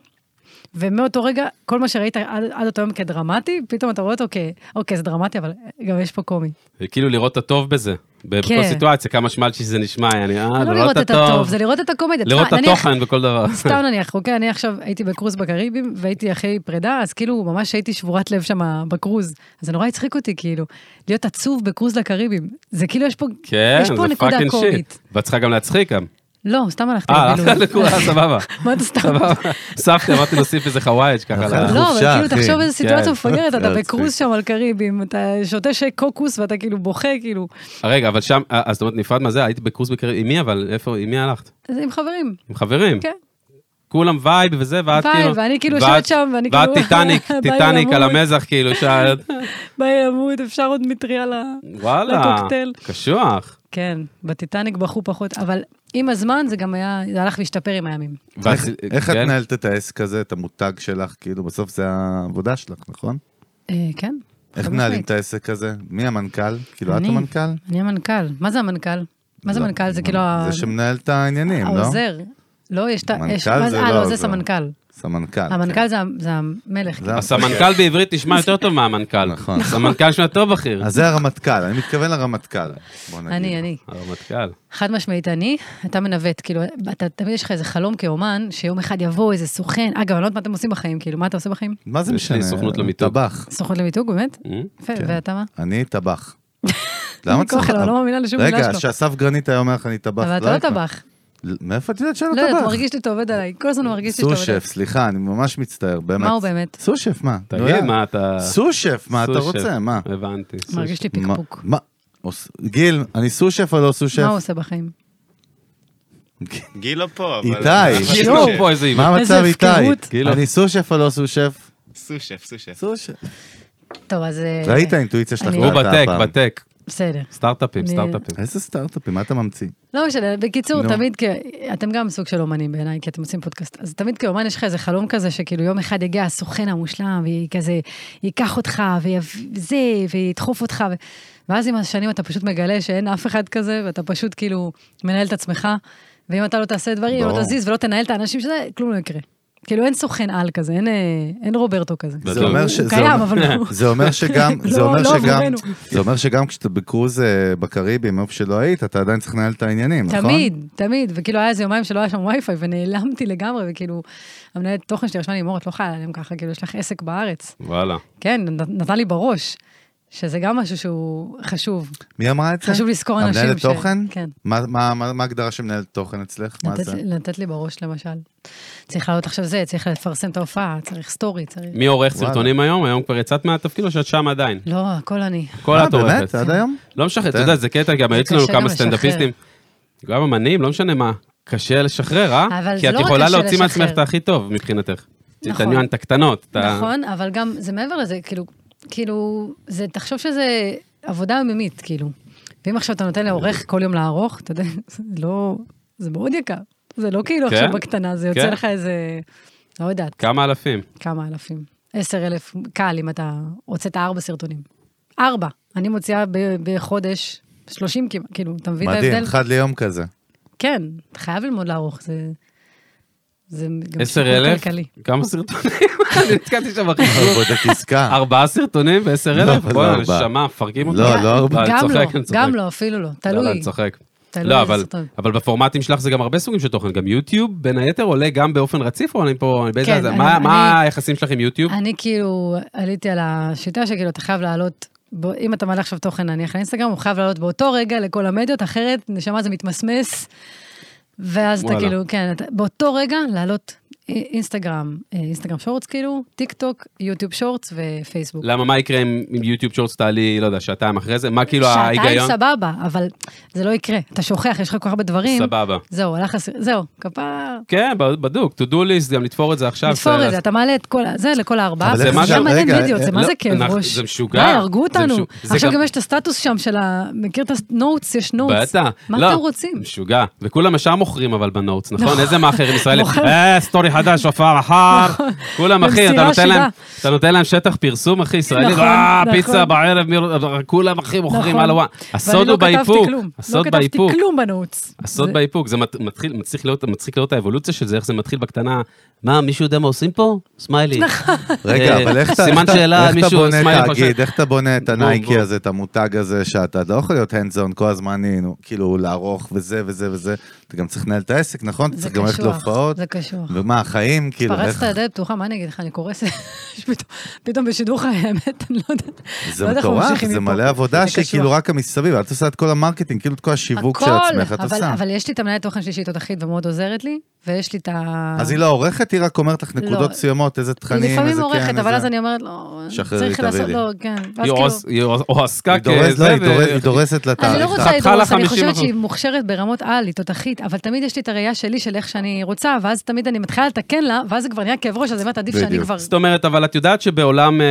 B: ומאותו רגע, כל מה שראית עד, עד אותו יום כדרמטי, פתאום אתה רואה אותו כ... אוקיי, זה דרמטי, אבל גם יש פה קומי.
A: זה כאילו לראות את הטוב בזה. בכל
B: כן.
A: סיטואציה, כמה שמלצ'י שזה נשמע, יעני, אה,
B: לא לראות את הטוב, זה לראות את הקומדיה.
A: לראות את
B: תשמע, נניח-
A: התוכן בכל דבר.
B: סתם נניח, אוקיי, אני עכשיו הייתי בקרוז בקריבים, והייתי אחרי פרידה, אז כאילו ממש הייתי שבורת לב שם בקרוז. אז זה נורא הצחיק אותי, כאילו, להיות עצוב בקרוז לקריבים. זה כאילו, יש פה,
A: כן,
B: יש פה
A: זה
B: נקודה
A: פאקינג שיט.
B: קומית.
A: ואת צריכה גם להצחיק גם.
B: לא, סתם הלכתי
A: אה, הלכת
B: לבילוי.
A: לכולם, סבבה.
B: מה אתה סתם?
A: סבבה. סבתי, אמרתי להוסיף איזה חוואייג' ככה.
C: נכון.
A: ל-
B: לא,
C: חופשה,
B: אבל כאילו,
C: אחי. לא,
B: תחשוב איזה
A: כן.
B: סיטואציה מפגרת, אתה
C: זה
B: בקרוז
C: מצחיק.
B: שם על קריבים, אתה שותה שי קוקוס ואתה כאילו בוכה, כאילו,
A: רגע, אבל שם, אה, אז זאת אומרת, נפרד מהזה, הייתי בקורס בקרב, עם מי אבל? איפה, עם מי הלכת?
B: זה עם חברים,
A: עם חברים.
B: כן.
A: כולם וייב וזה, ואת
B: וייב,
A: כאילו...
B: ואני כאילו
A: ואת-
B: יושבת שם, ואני
A: ואת
B: כאילו-
A: טיטניק,
B: בא לי
A: טיטניק על
B: למות.
A: המזח, כאילו, שאת...
B: ביי למות, אפשר עוד מטריה ל...
A: וואלה.
B: לקוקטייל.
A: קשוח.
B: כן, בטיטניק בכו פחות, אבל עם הזמן זה גם היה, זה הלך והשתפר עם הימים.
A: ואת-
C: איך- איך את
A: כן?
C: מנהלת את העסק הזה, את המותג שלך, כאילו בסוף זה העבודה שלך, נכון?
B: אה, כן.
C: איך
B: חד
C: מנהלים
B: משמעית.
C: את העסק הזה? מי המנכ"ל? כאילו את
B: אני.
C: המנכ"ל?
B: אני המנכ"ל. מה זה המנכ"ל? מה זה
C: לא,
B: מנכ"ל? זה כאילו ה-
C: זה שמנהל את העניינים, לא?
B: העוזר. לא, יש את ה... יש-
C: מנכ"ל
B: מה
C: זה
B: אה,
C: לא
B: לא, זה
C: עוזר.
B: סמנכ"ל.
C: סמנכ"ל.
B: המנכ"ל זה ה- זה המלך. כאילו.
C: זה
A: אז סמנכ"ל בעברית נשמע יותר טוב מהמנכ"ל.
C: נכון.
A: סמנכ"ל נשמע יותר בכיר.
C: כן. אז זה הרמטכ"ל, אני מתכוון לרמטכ"ל. בוא נגיד.
B: אני, אני.
A: הרמטכ"ל. אה,
B: חד משמעית אני, אתה מנווט, כאילו, אתה תמיד יש לך איזה חלום כאומן, שיום אחד יבוא איזה סוכן, אגב, אני לא יודעת מה אתם עושים בחיים, כאילו, מה אתה עושה בחיים?
C: מה זה
A: יש לי
C: משנה?
A: סוכנות למיתוג.
C: טבח.
B: סוכנות למיתוג, באמת?
A: אה?
B: יפה,
C: כן.
B: ואתה מה?
C: אני טבח.
B: אני כל כך לא מאמינה לשום מילה
C: רגע,
B: שלו.
C: שאסף גרנית היה אומר לך אני טבח.
B: אבל אתה לא
C: היית-
B: טבח.
C: ל- מאיפה את יודעת שאין לו
B: לא יודעת, הוא
C: טבח?
B: מרגיש לי טוב עובד עליי, כל הזמן הוא מרגיש לי טוב עובד עליי.
C: סושף, סליחה, אני ממש מצטער, באמת.
B: מה הוא באמת?
C: סושף, מה? נו,
A: תגיד,
C: יאללה.
A: מה אתה...
C: סושף, מה אתה
A: סושף.
C: רוצה? מה?
A: הבנתי. סושף.
B: מרגיש לי פיקפוק.
C: מה- מה? עוש- גיל, אני סושף או לא סושף?
B: מה הוא עושה בחיים?
F: גיל לא פה, אבל...
C: איתי.
A: יש לו פה איזה
C: מה
B: איזה
C: המצב
B: הפקרות.
C: איתי?
A: גיל,
C: אני סושף או לא סושף?
F: סושף, סושף.
C: סושף.
B: טוב, אז... אה,
C: ראית האינטואיציה שלך?
B: אני-
A: הוא
C: ראתה
A: בטק,
C: הפעם.
A: בטק.
B: בסדר.
A: סטארט-אפים,
B: אני-
A: סטארט-אפים.
C: איזה סטארט-אפים, מה אתה ממציא?
B: לא משנה, בקיצור,
C: נו.
B: תמיד, כ... אתם גם סוג של אומנים בעיניי, כי אתם עושים פודקאסט, אז תמיד כאומן יש לך איזה חלום כזה, שכאילו יום אחד יגיע הסוכן המושלם, והיא כזה, ייקח אותך, וזה, וידחוף אותך, ו... ואז עם השנים אתה פשוט מגלה שאין אף אחד כזה, ואתה פשוט כאילו מנהל את עצמך, ואם אתה לא תעשה דברים, לא
C: ברור.
B: תזיז ולא תנהל את האנשים שזה, כלום לא יקרה. כאילו אין סוכן על כזה, אין, אה, אין רוברטו כזה.
C: זה אומר ש...
B: הוא
C: זה
B: קיים,
C: אומר-
B: אבל הוא...
C: זה אומר שגם,
B: לא-
C: זה אומר
B: לא
C: שגם,
B: עבורנו.
C: זה אומר שגם כשאתה בקרוז אה, בקריבים, איפה שלא היית, אתה עדיין צריך לנהל את העניינים, נכון?
B: תמיד, תמיד, וכאילו היה איזה יומיים שלא היה שם וי-פיי, ונעלמתי לגמרי, וכאילו, המנהלת תוכן שלי רשמה לי, מור, את לא יכולה להיעלם ככה, כאילו, יש לך עסק בארץ.
C: אה.
A: וואלה.
B: כן, נ- נתן לי בראש, שזה גם משהו שהוא חשוב.
C: מי אמרה את זה?
B: חשוב לזכור אנשים
C: המנהלת
B: ש-
C: תוכן?
B: כן.
C: מה- מה מה- מה ההגדרה של מנהלת תוכן אצלך? מה
B: לתת
C: זה?
B: לי- לתת לי בראש, למשל. צריך לעלות עכשיו זה, צריך לפרסם את ההופעה, צריך סטורי, צריך...
A: מי עורך
C: וואלה.
A: סרטונים היום? היום כבר יצאת מהתפקיד או שאת שם עדיין?
B: לא, הכל אני.
A: כל
C: אה,
A: את עורכת.
C: באמת? עד היום?
A: לא משחרר, אתה
C: כן.
A: יודע, זה קטע, גם
B: זה
A: היו אצלנו
B: קשה גם
A: כמה
B: לשחרר.
A: סטנדאפיסטים. גם אמנים, לא משנה מה, קשה לשחרר, אה?
B: אבל
A: כי
B: זה
A: את
B: לא רק
A: יכולה
B: קשה
A: להוציא מעצמך
B: לשחרר.
A: את הכי טוב מבחינתך. את
B: נכון.
A: הניואנט הקטנות. את ה-
B: נכון, אבל גם זה מעבר לזה, כאילו, כאילו, זה, תחשוב שזה עבודה יומיומית, כאילו. ואם עכשיו אתה נותן
A: אה.
B: לעורך כל יום לערוך, אתה יודע, זה לא, זה מאוד יקר. זה לא כאילו
A: כן,
B: עכשיו בקטנה, זה יוצא
A: כן.
B: לך איזה, לא יודעת,
A: כמה אלפים.
B: כמה אלפים. עשר אלף קל אם אתה הוצאת ארבע סרטונים. ארבע. אני מוציאה ב- בחודש שלושים כמעט, כאילו, אתה מבין את ההבדל?
C: מדהים, אחד ליום כזה.
B: כן, אתה חייב ללמוד לערוך, זה... זה גם
A: עשר
B: שיקול
A: אלף?
B: כלכלי.
A: כמה סרטונים? אני נתקעתי שם אחרי
C: הוא בודק עסקה.
A: ארבעה סרטונים ועשר
C: לא,
A: אלף?
C: אבל לא
A: בואי,
C: ארבעה.
A: נשמה, מפרקים אותך.
C: לא, לא ארבעה.
A: אה, אני
B: גם
A: צוחק,
B: לא,
A: אני צוחק.
B: גם לא, אפילו לא,
A: לא, לא, אני
B: תלוי.
A: צוחק.
B: תלוי
A: לא,
B: איזה
A: אבל,
B: סרטון.
A: אבל בפורמטים שלך זה גם הרבה סוגים של תוכן, גם יוטיוב בין היתר עולה גם באופן רציף, או אני פה, אני באיזה,
B: כן,
A: מה,
B: אני-
A: מה
B: אני-
A: היחסים שלך עם יוטיוב?
B: אני כאילו עליתי על השיטה שכאילו אתה חייב לעלות, בו, אם אתה מעלה עכשיו תוכן נניח לאינסטגרם, הוא חייב לעלות באותו רגע לכל המדיות, אחרת נשמה זה מתמסמס, ואז אתה
A: וואלה.
B: כאילו, כן, אתה, באותו רגע לעלות אי- אינסטגרם, אה, אינסטגרם שורטס כאילו, טיק טוק, יוטיוב שורטס ופייסבוק.
A: למה, מה יקרה אם אם יוטיוב שורטס תעלי, לא יודע, שעתיים אחרי זה? מה כאילו
B: שעתיים
A: ההיגיון?
B: סבבה, אבל זה לא יקרה, אתה שוכח, יש לך כל כך הרבה דברים.
A: סבבה.
B: זהו, הלך, הס- זהו, כפר.
A: כן, בדוק, to do list, גם לתפור את זה עכשיו.
B: לתפור
A: זה-
B: את זה, אתה מעלה את כל ה- זה לכל הארבעה,
C: אבל
B: זה
A: איך
B: מה
A: אפשר-
B: זה מעניין
C: רגע,
B: וידאו, זה
C: אה,
B: מה
A: לא,
B: זה כאב
A: אנחנו-
B: ראש.
A: זה משוגע.
B: די, הרגו
A: זה
B: אותנו.
A: משוגע. זה
B: עכשיו
A: גם-
B: גם יש את הסטטוס שם של ה... מכיר את הנוטס? יש נוטס.
A: בטח.
B: מה
A: לא,
B: אתם רוצים?
A: משוגע. וכולם ישר מוכרים אבל בנוטס, נכון?
B: נכון.
A: איזה מאכערים ישראלים?
B: מוכר. נכון.
A: אה, סטורי חדש, הופעה מחר. כולם, אחי, אתה
B: במסירה
A: נותן
B: שבעה.
A: להם- אתה נותן להם שטח פרסום, אחי, ישראלי.
B: נכון,
A: אה,
B: נכון.
A: פיצה בערב, מי- כולם, אחי, מוכרים
B: נכון.
A: על הוואן. הסוד הוא
B: ואני לא כתבתי
A: באיפוק.
B: כלום.
A: הסוד
B: לא כתבתי
A: באיפוק.
B: כלום בנוטס.
A: הסוד
B: זה-
A: באיפוק, זה מת- מתחיל, מצליח לראות, מצחיק לראות את האבולוציה של זה, איך זה מתחיל בקטנה. מה, מישהו יודע מה עושים פה? סמיילי.
B: נכון.
C: רגע,
A: אה,
C: אבל איך אתה
A: סימן
C: איך אתה-
A: שאלה,
C: איך אתה
A: מישהו- סמיילי
C: בונה
A: חושב.
C: תאגיד, איך אתה בונה את
A: בוא, בוא.
C: הנייקי הזה, את המותג הזה, שאתה לא יכול להיות hands on כל הזמן, הנה, כאילו, לערוך וזה וזה וזה, אתה גם צריך לנהל את העסק, נכון? אתה
B: זה
C: צריך גם ללכת
B: קשוח.
C: להופעות,
B: זה קשוח.
C: ומה, החיים, כאילו,
B: פרצת
C: איך...
B: לדלת פתוחה, מה אני אגיד לך, אני קורסת. פתאום- פתאום בשידור חי, האמת, אני לא יודעת.
C: זה
B: לא יודעת איך
C: מטורף,
B: ממשיכים
C: זה
B: מפה.
C: מלא עבודה
B: זה קשוח.
A: כאילו
C: שכאילו רק המסביב, את עושה את כל המרקטינג, כאילו את כל השיווק של
B: הכל,
C: עצמך, את
B: אבל-
C: עושה.
B: אבל יש לי את המנהלת תוכן שלי שהיא תותחית ומאוד עוזרת לי, ויש לי את ה...
C: אז היא לא עורכת, היא רק אומרת לך נקודות מסוימות, איזה תכנים,
B: לא. היא
C: איזה כן,
B: לפעמים עורכת, אבל
C: איזה-
B: אז אני אומרת, לא,
C: שחררי,
B: צריך
C: תביאי
B: לעשות,
C: לי.
B: לא, כן. ואז
A: היא
B: כאילו,
A: עוס- היא עוס- או עסקה
C: היא דורסת, לא,
A: כזה,
C: היא דורסת-
A: ו-
C: היא דורסת לתאריך.
B: אני לא רוצה
A: חתכה
B: לדרוס,
A: לה
B: אני
A: 50%.
B: חושבת שהיא מוכשרת ברמות על, היא תותחית, אבל תמיד יש לי את הראייה שלי של איך שאני רוצה, ואז תמיד אני מתחילה לתקן לה, ואז זה כבר נהיה כאב ראש, אז באמת עדיף שאני
C: בדיוק.
B: כבר...
A: זאת אומרת, אבל את יודעת שבעולם אה,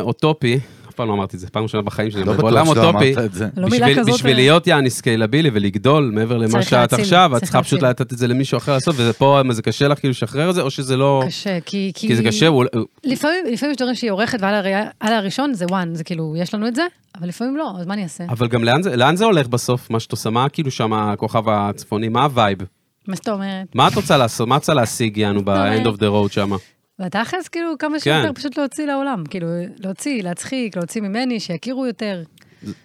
A: אוטופי, אף פעם לא אמרתי את זה, פעם ראשונה בחיים שלי,
C: לא
A: אבל
C: בטוח
A: בעולם
C: שלא אמרת
A: אוטופי,
C: את זה.
B: לא מילה
A: בשביל-
B: כזאת,
A: בשביל
B: אה.
A: להיות יעני סקיילבילי ולגדול מעבר למה
B: צריך
A: שאת
B: להציל,
A: עכשיו, את
B: צריך
A: צריכה פשוט
B: להציל.
A: לתת את זה למישהו אחר לעשות, ופה זה קשה לך כאילו לשחרר את זה, או שזה לא...
B: קשה, כי...
A: כי זה קשה, הוא-
B: לפעמים לפעמים יש דברים שהיא עורכת, ועל הראייה- על הראשון זה וואן, זה כאילו, יש לנו את זה, אבל לפעמים לא, אז מה אני אעשה?
A: אבל גם לאן זה- לאן זה הולך בסוף, מה שאת עושה, מה כאילו שם הכוכב הצפוני, מה הווייב?
B: מה זאת אומרת?
A: מה את רוצה לעשות, מה את רוצה להשיג יענו ב-end of the road שם?
B: בתכלס, כאילו,
A: כן.
B: כמה שיותר פשוט להוציא לעולם, כאילו, להוציא, להצחיק, להוציא ממני, שיכירו יותר,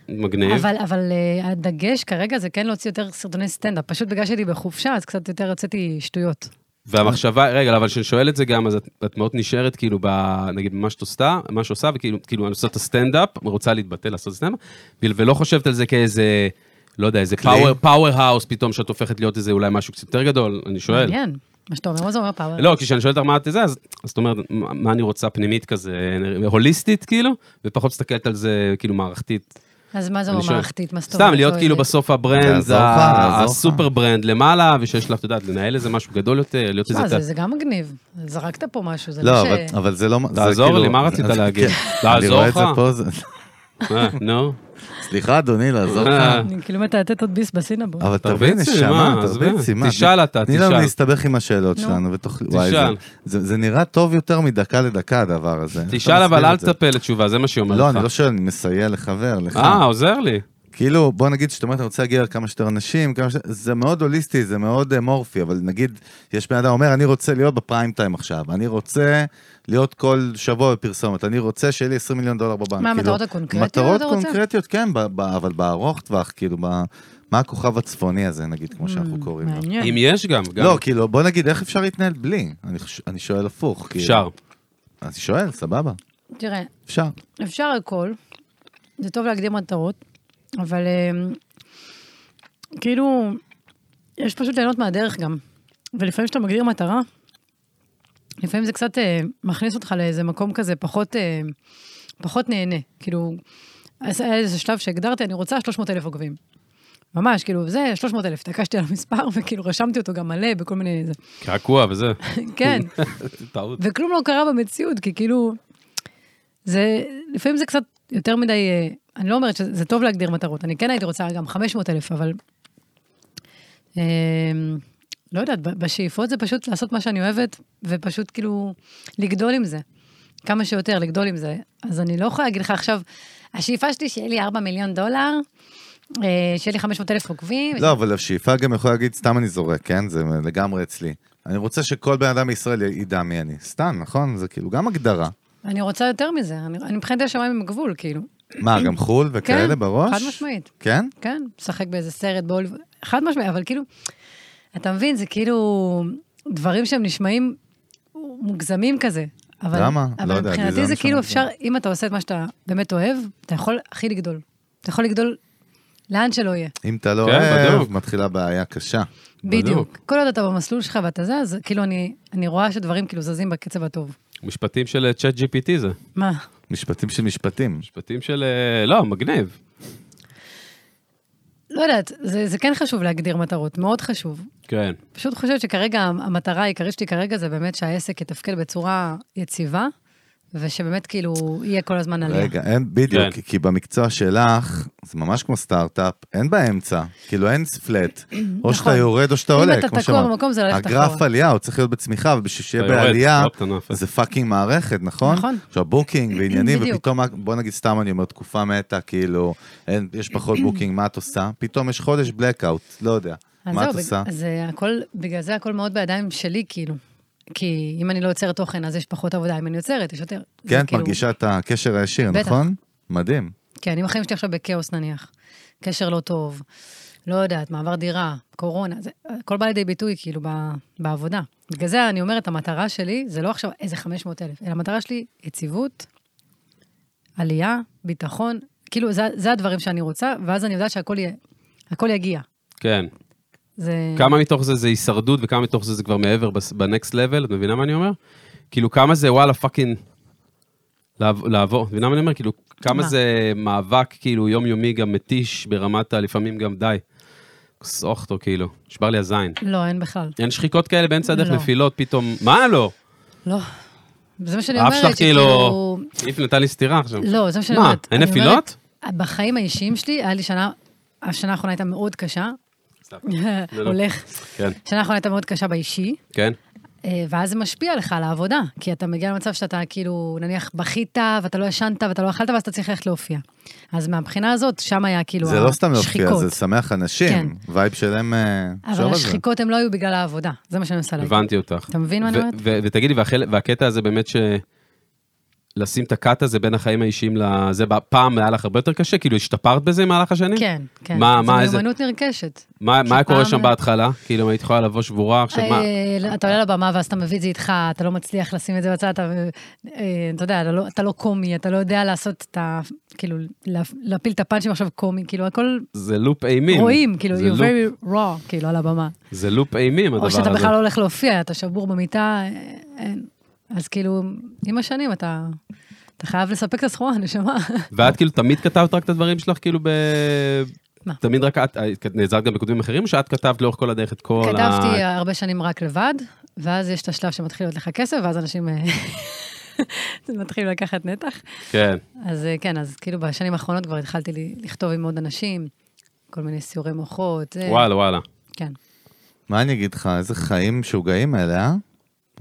A: מגניב.
B: אבל, אבל אה, הדגש כרגע זה כן להוציא יותר סרטוני סטנדאפ. פשוט בגלל שהייתי בחופשה, אז קצת יותר הוצאתי שטויות.
A: והמחשבה, רגע, אבל כשאני שואל את זה גם, אז את, את מאוד נשארת כאילו, ב, נגיד, במה שאת עושה, מה שעושה, וכאילו, כאילו, אני עושה את הסטנדאפ, רוצה להתבטא, לעשות סטנדאפ, ו- ולא חושבת על זה כאיזה, לא יודע, איזה
C: קליי?
A: פאוור האוס פתאום, שאת הופכת להיות איזה אולי משהו קצת יותר גדול, אני שואל.
B: מעניין. מה שאתה אומר, מה זה אומר פאוור?
A: לא, כי כשאני שואל אותך מה את זה, אז אז את אומרת, מה מה אני רוצה פנימית כזה, הוליסטית כאילו, ופחות מסתכלת על זה כאילו מערכתית.
B: אז מה זה
A: אני
B: אומר
A: שואל.
B: לא, מערכתית? מה זאת אומרת?
A: סתם, להיות
B: לא
A: כאילו
B: יודעת.
C: כן,
A: בסוף הברנד,
C: לעזור לך,
A: ה-
C: לעזור לך.
A: הסופר ברנד למעלה, ושיש לך, את יודעת, לנהל איזה משהו גדול יותר, להיות
B: מה,
A: איזה...
B: לא, זה- זה גם מגניב. זרקת פה משהו, זה
C: לא,
B: לא
C: אבל-
B: ש...
C: אבל זה לא... זה
A: תעזור
C: כאילו-
A: לי, מה רצית
C: אז-
A: להגיד?
C: כן. אני
A: לעזור
C: רואה את
A: לך?
C: זה פה, זה-
A: אה, נו.
C: סליחה, אדוני, לעזור לך.
A: אה,
B: אני כאילו מתעתת עוד ביס בסינבו.
C: אבל
A: תרביצי,
C: תביא נשמה,
A: מה, עזבי.
C: תרביצי, מה?
A: תשאל אתה,
C: תני לנו
A: תשאל.
C: להסתבך עם השאלות
B: נו.
C: שלנו ותאכלי... וואי,
A: תשאל.
C: זה- זה זה נראה טוב יותר מדקה לדקה, הדבר הזה.
A: תשאל,
C: אתה
A: אבל
C: מסביר
A: אל
C: את זה.
A: תטפל לתשובה, זה מה שהיא אומרת לך.
C: לא, אני לא שואל, אני מסייע לחבר, לך.
A: אה, עוזר לי.
C: כאילו, בוא נגיד שאתה אומר, אתה רוצה להגיע לכמה שיותר אנשים, כמה שיותר... זה מאוד הוליסטי, זה מאוד אה, מורפי, אבל נגיד, יש בן אדם אומר, אני רוצה להיות בפריים טיים עכשיו, אני רוצה להיות כל שבוע בפרסומת, אני רוצה שיהיה לי 20 מיליון דולר בבנק.
B: מה,
C: כאילו,
B: המטרות הקונקרטיות
C: מטרות
B: אתה רוצה?
C: קונקרטיות, כן, ב- ב- אבל בארוך טווח, כאילו, ב... מה הכוכב הצפוני הזה, נגיד, כמו שאנחנו קוראים לו.
B: Hmm, מעניין.
A: אם יש גם, גם.
C: לא, כאילו, בוא נגיד, איך אפשר להתנהל בלי? אני חוש- אני שואל הפוך. כאילו.
A: אפשר.
C: אני שואל, סבבה,
B: תראה,
C: אפשר.
B: אפשר הכל, זה טוב להגדיר מטרות, אבל אמ, כאילו, יש פשוט ליהנות מהדרך גם. ולפעמים כשאתה מגדיר מטרה, לפעמים זה קצת אה, מכניס אותך לאיזה מקום כזה פחות, אה, פחות נהנה. כאילו, אז היה איזה שלב שהגדרתי, אני רוצה 300 אלף עוקבים. ממש, כאילו, זה 300 אלף, התעקשתי על המספר וכאילו רשמתי אותו גם מלא בכל מיני... זה.
A: קעקוע וזה.
B: כן.
A: טעות.
B: וכלום לא קרה במציאות, כי כאילו, זה, לפעמים זה קצת יותר מדי, אה, אני לא אומרת שזה זה טוב להגדיר מטרות, אני כן הייתי רוצה גם 500 אלף, אבל... אה, לא יודעת, ב- בשאיפות זה פשוט לעשות מה שאני אוהבת, ופשוט כאילו לגדול עם זה. כמה שיותר, לגדול עם זה. אז אני לא יכולה להגיד לך עכשיו, השאיפה שלי שיהיה לי 4 מיליון דולר, אה, שיהיה לי 500 אלף עוקבים.
C: לא, אבל השאיפה גם יכולה להגיד, סתם אני זורק, כן? זה לגמרי אצלי. אני רוצה שכל בן אדם בישראל ידע מי אני. סתם, נכון? זה כאילו גם הגדרה.
B: אני רוצה יותר מזה, אני, אני מבחינתי השמיים הם הגבול, כאילו.
C: מה, גם חו"ל וכאלה
B: כן,
C: בראש?
B: חד משמעית.
C: כן?
B: כן, משחק באיזה סרט בהוליווד, חד משמעי, אבל כאילו, אתה מבין, זה כאילו דברים שהם נשמעים מוגזמים כזה. אבל,
C: למה?
B: אבל
C: לא יודע, לי
B: מבחינתי
C: זה לא
B: זה
C: נשמע
B: כאילו
C: מוגזם.
B: אפשר, אם אתה עושה את מה שאתה באמת אוהב, אתה יכול הכי לגדול. אתה יכול לגדול לאן שלא יהיה.
C: אם אתה לא
A: כן,
C: אוהב,
A: בדיוק.
C: מתחילה בעיה קשה.
A: בדיוק.
B: בדיוק. כל עוד אתה במסלול שלך ואתה זה, אז כאילו אני, אני רואה שדברים כאילו זזים בקצב הטוב.
A: משפטים של צ'אט GPT זה.
B: מה?
C: משפטים של משפטים.
A: משפטים של... אה, לא, מגניב.
B: לא יודעת, זה, זה כן חשוב להגדיר מטרות, מאוד חשוב.
A: כן.
B: פשוט חושבת שכרגע המטרה העיקרית שלי כרגע זה באמת שהעסק יתפקד בצורה יציבה, ושבאמת כאילו יהיה כל הזמן עלייה.
C: רגע, אין, בדיוק,
A: כן.
C: כי- כי במקצוע שלך, זה ממש כמו סטארט-אפ, אין באמצע, כאילו אין פלט, או שאתה
B: נכון.
C: יורד או שאתה
B: אם
C: עולה,
B: אתה
C: כמו
B: תקוע במקום, זה לא ללכת
C: הגרף
B: אחורה.
C: עלייה, הוא צריך להיות בצמיחה, ובשביל שיהיה
A: אתה יורד,
C: בעלייה,
A: הופ, אתה נופל.
C: זה פאקינג מערכת, נכון?
B: נכון.
C: עכשיו בוקינג ועניינים,
B: בדיוק.
C: ופתאום, בוא נגיד סתם אני אומר, תקופה מתה, כאילו, אין- יש פחות בוקינג, מה את עושה? פתאום יש חודש blackout, לא יודע,
B: אז
C: מה את
B: זהו, בג-
C: עושה?
B: אז אה, הכל, בגלל זה הכל מאוד בידיים שלי, כאילו. כי אם אני לא יוצרת תוכן, אז יש פחות עבודה, אם אני יוצרת, יש יותר. זה
C: כן, את
B: כאילו-
C: מרגישה את הקשר הישיר,
B: בטח.
C: נכון? מדהים.
B: כן, אם החיים שלי עכשיו בכאוס נניח, קשר לא טוב, לא יודעת, מעבר דירה, קורונה, זה, הכל בא לידי ביטוי כאילו ב, בעבודה. בגלל זה אני אומרת, המטרה שלי זה לא עכשיו איזה 500 אלף, אלא המטרה שלי, יציבות, עלייה, ביטחון, כאילו זה, זה הדברים שאני רוצה, ואז אני יודעת שהכל יהיה, הכל יגיע.
A: כן.
B: זה...
A: Mm-hmm. כמה מתוך זה זה הישרדות וכמה מתוך זה זה כבר מעבר בס- בנקסט לבל, את מבינה מה אני אומר? כאילו כמה זה וואלה פאקינג לעב- לעבור, את מבינה מה אני אומר? כאילו כמה
B: מה?
A: זה מאבק כאילו יומיומי גם מתיש ברמת ה... לפעמים גם די. כסוך אותו כאילו, נשבר לי הזין.
B: לא, אין בכלל.
A: אין שחיקות כאלה באמצע הדרך,
B: לא.
A: נפילות פתאום, מה לא?
B: לא. זה מה שאני
A: האף
B: אומרת,
A: שלך כאילו, איף נתן לי סטירה עכשיו.
B: לא, זה מה שאני
A: מה,
B: אומרת.
A: אין
B: אני
A: נפילות?
B: אומרת, בחיים האישיים שלי, היה לי שנה, השנה האחרונה הייתה מאוד קשה.
A: סתם. לא.
B: הולך.
A: כן,
B: שנה האחרונה הייתה מאוד קשה באישי,
A: כן.
B: אה, ואז זה משפיע לך על העבודה, כי אתה מגיע למצב שאתה כאילו, נניח, בכית, ואתה לא ישנת, ואתה לא אכלת, ואז אתה צריך ללכת להופיע. אז מהבחינה הזאת, שם היה כאילו
C: זה לא סתם להופיע, זה שמח אנשים,
B: כן.
C: וייב שלהם, אה,
B: אבל
C: שוב על זה.
B: השחיקות הן לא היו בגלל העבודה, זה מה שאני מנסה להגיד.
A: הבנתי אותך.
B: אתה מבין מה אני
A: ו-
B: אומרת?
A: ו- ותגידי, והחל- והקטע הזה באמת ש... לשים את הקאט הזה בין החיים האישיים לזה, פעם היה לך הרבה יותר קשה? כאילו, השתפרת בזה במהלך השנים?
B: כן, כן.
A: מה, מה,
B: זו
A: איזה...
B: מיומנות נרכשת.
A: מה, מה היה קורה
B: שפעם-
A: שם בהתחלה? כאילו, אם היית יכולה לבוא שבורה עכשיו, מה...
B: אה, אתה עולה לבמה ואז אתה מביא את זה איתך, אתה לא מצליח לשים את זה בצד, אתה, אה, אתה יודע, אתה לא, אתה לא קומי, אתה לא יודע לעשות את ה... כאילו, לה- להפיל את הפאנצ'ים עכשיו קומי, כאילו, הכל
A: זה לופ אימים.
B: רואים, כאילו,
A: זה
B: you're
A: לופ-
B: very raw, כאילו, על הבמה.
A: זה לופ אימים, הדבר
B: או
A: הזה.
B: שאתה בכלל לא הולך להופיע, אתה שבור במיטה, אה, אין. אז כאילו, עם השנים אתה... אתה חייב לספק את הסחורה, נשמה.
A: ואת כאילו תמיד כתבת רק את הדברים שלך, כאילו ב...
B: מה?
A: תמיד רק את, את נעזרת גם בכותבים אחרים, או שאת כתבת לאורך כל הדרך את כל ה...
B: כתבתי אה, הרבה שנים רק לבד, ואז יש את השלב שמתחיל להיות לך כסף, ואז אנשים אה, מתחילים לקחת נתח.
A: כן.
B: אז אה, כן, אז כאילו בשנים האחרונות כבר התחלתי ל- לכתוב עם עוד אנשים, כל מיני סיורי מוחות. זה-
A: וואלה, וואלה.
B: כן.
C: מה אני אגיד לך, איזה חיים משוגעים האלה, אה?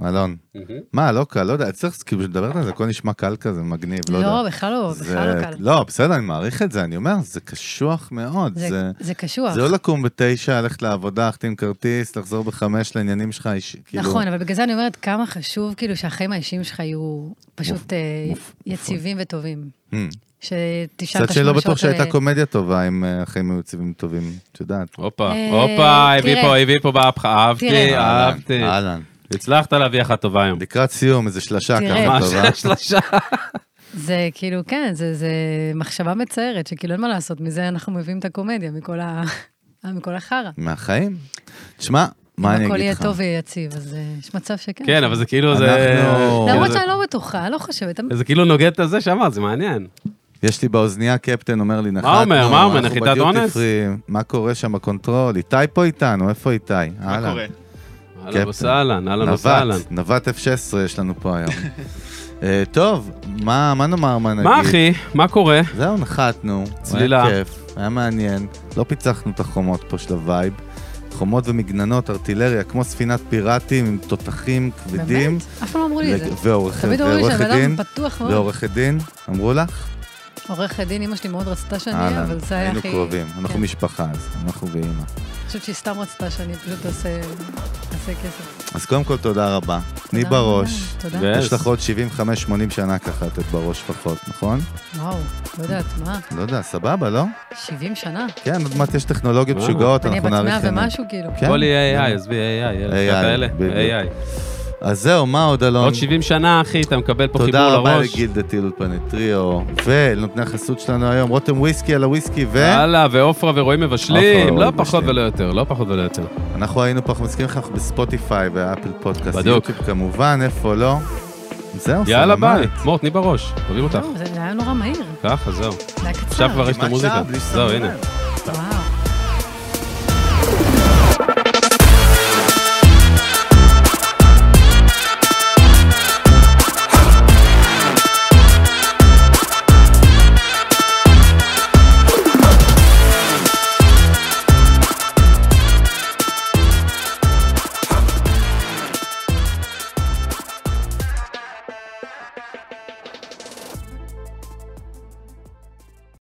C: אלון.
B: אה,
C: מה, לא קל, לא יודע, צריך, כאילו, כשמדברת על זה, הכל נשמע קל כזה, מגניב, לא יודע.
B: לא, בכלל לא,
C: זה-
B: בכלל לא קל.
C: לא, בסדר, אני מעריך את זה, אני אומר, זה קשוח מאוד.
B: זה-
C: זה...
B: זה קשוח.
C: זה לא לקום בתשע, ללכת לעבודה, להחתים כרטיס, לחזור בחמש לעניינים שלך אישי. כאילו,
B: נכון, אבל בגלל זה אני אומרת כמה חשוב כאילו שהחיים האישיים שלך יהיו פשוט אה,
C: מופ-
B: יציבים וטובים.
C: Hmm.
B: שתשאל את
C: קצת שלא בטוח שהייתה קומדיה טובה עם אה, החיים היו יציבים טובים, את יודעת.
A: הופה,
B: אה,
A: הופה, הביא
B: תראה.
A: פה, הביא פה בהפכה, אהבתי,
B: תראה.
C: אהלן,
A: אה, אהבתי.
C: אהלן.
A: הצלחת להביא אחת טובה היום.
C: לקראת סיום, איזה שלשה
B: תראה.
C: ככה
A: ממש
C: כן, טובה.
A: שלושה.
B: זה כאילו, כן, זה, זה מחשבה מצערת, שכאילו אין מה לעשות, מזה אנחנו מביאים את הקומדיה, מכל, ה... אה, מכל החרא.
C: מהחיים. תשמע, מה אני
B: הכל
C: אגיד
B: יהיה
C: לך?
B: טוב ויציב, אז אה, יש מצב שכן.
A: כן, אבל זה כאילו, זה...
C: אנחנו-
A: כאילו,
B: למרות
A: זה-
B: שאני לא בטוחה, אני לא חושבת.
A: זה כאילו נוגד את הזה שאמרת, זה מעניין.
C: יש לי באוזנייה, קפטן אומר לי, נחתנו,
A: אומר? מה אומר?
C: אנחנו
A: נחיתת
C: בדיוטי
A: אונס?
C: פרי, מה קורה שם בקונטרול? איתי פה איתנו, איפה איתי?
F: מה קורה?
A: אהלן וסהלן, אהלן וסהלן.
C: כן. נווט, נווט F16 יש לנו פה היום. אה, טוב, מה מה נאמר, מה נגיד? כן.
A: מה אחי, מה קורה?
C: זהו, נחתנו.
A: צלילה.
C: היה כיף, היה מעניין. לא פיצחנו את החומות פה של הווייב. חומות ומגננות, ארטילריה, כמו ספינת פיראטים עם תותחים כבדים.
B: באמת? אף פעם לא אמרו לי את זה.
C: לג- ועורך-
B: תמיד אומרים לי
C: ועורכת
B: שהבן
C: דין.
B: אדם פתוח מאוד.
C: ועורכת דין, אמרו לך?
B: עורכת דין, אימא שלי מאוד רצתה שאני אהיה, אבל זה היה
C: היינו
B: הכי...
C: קרובים. אנחנו
B: כן.
C: משפחה אז, אנחנו ואימא.
B: אני חושבת שהיא סתם רצתה שאני פשוט אעשה אעשה כסף.
C: אז קודם כל, תודה רבה. תני
B: תודה רבה,
C: בראש.
B: תודה.
A: ו-
C: יש לך עוד 75-80 שנה ככה לתת בראש פחות, נכון?
B: וואו, לא יודעת, מה?
C: לא יודע, סבבה, לא?
B: 70 שנה?
C: כן, עוד מעט יש טכנולוגיות
A: וואו.
C: משוגעות,
B: אני
C: אנחנו
B: בת 100
C: נעריך את
B: ומשהו, כאילו.
C: כן?
A: בוא לי AI, עזבי AI,
C: AI,
A: אלה, כאלה,
C: בדיוק.
A: AI.
C: אז זהו, מה עוד, אלון?
A: עוד 70 שנה, אחי, אתה מקבל פה חיבור
C: תודה רבה
A: לראש.
C: לגילדה טילול פנטריו, ולנותני החסות שלנו היום, רותם וויסקי על הוויסקי,
A: הלאה, ועופרה ורועים
C: עופרה
A: מבשלים, לא
C: ורועים
A: פחות
C: מבשלים.
A: ולא יותר, לא פחות ולא יותר.
C: ואנחנו היינו פה, אנחנו מזכירים לך, אנחנו בספוטיפיי ואפל פודקאסט,
A: בדוק.
C: יוטיוב כמובן, איפה לא. זהו,
A: יאללה,
C: סלמת.
A: ביי. מור, תני בראש, אוהבים אותך.
B: לא, זה היה נורא מהיר,
A: ככה, זהו.
B: זה היה קצר.
A: עכשיו כבר יש את
C: כמעט
A: המוזיקה.
C: שעה, בלי
A: זהו,
C: סממן.
A: הנה.
B: וואו.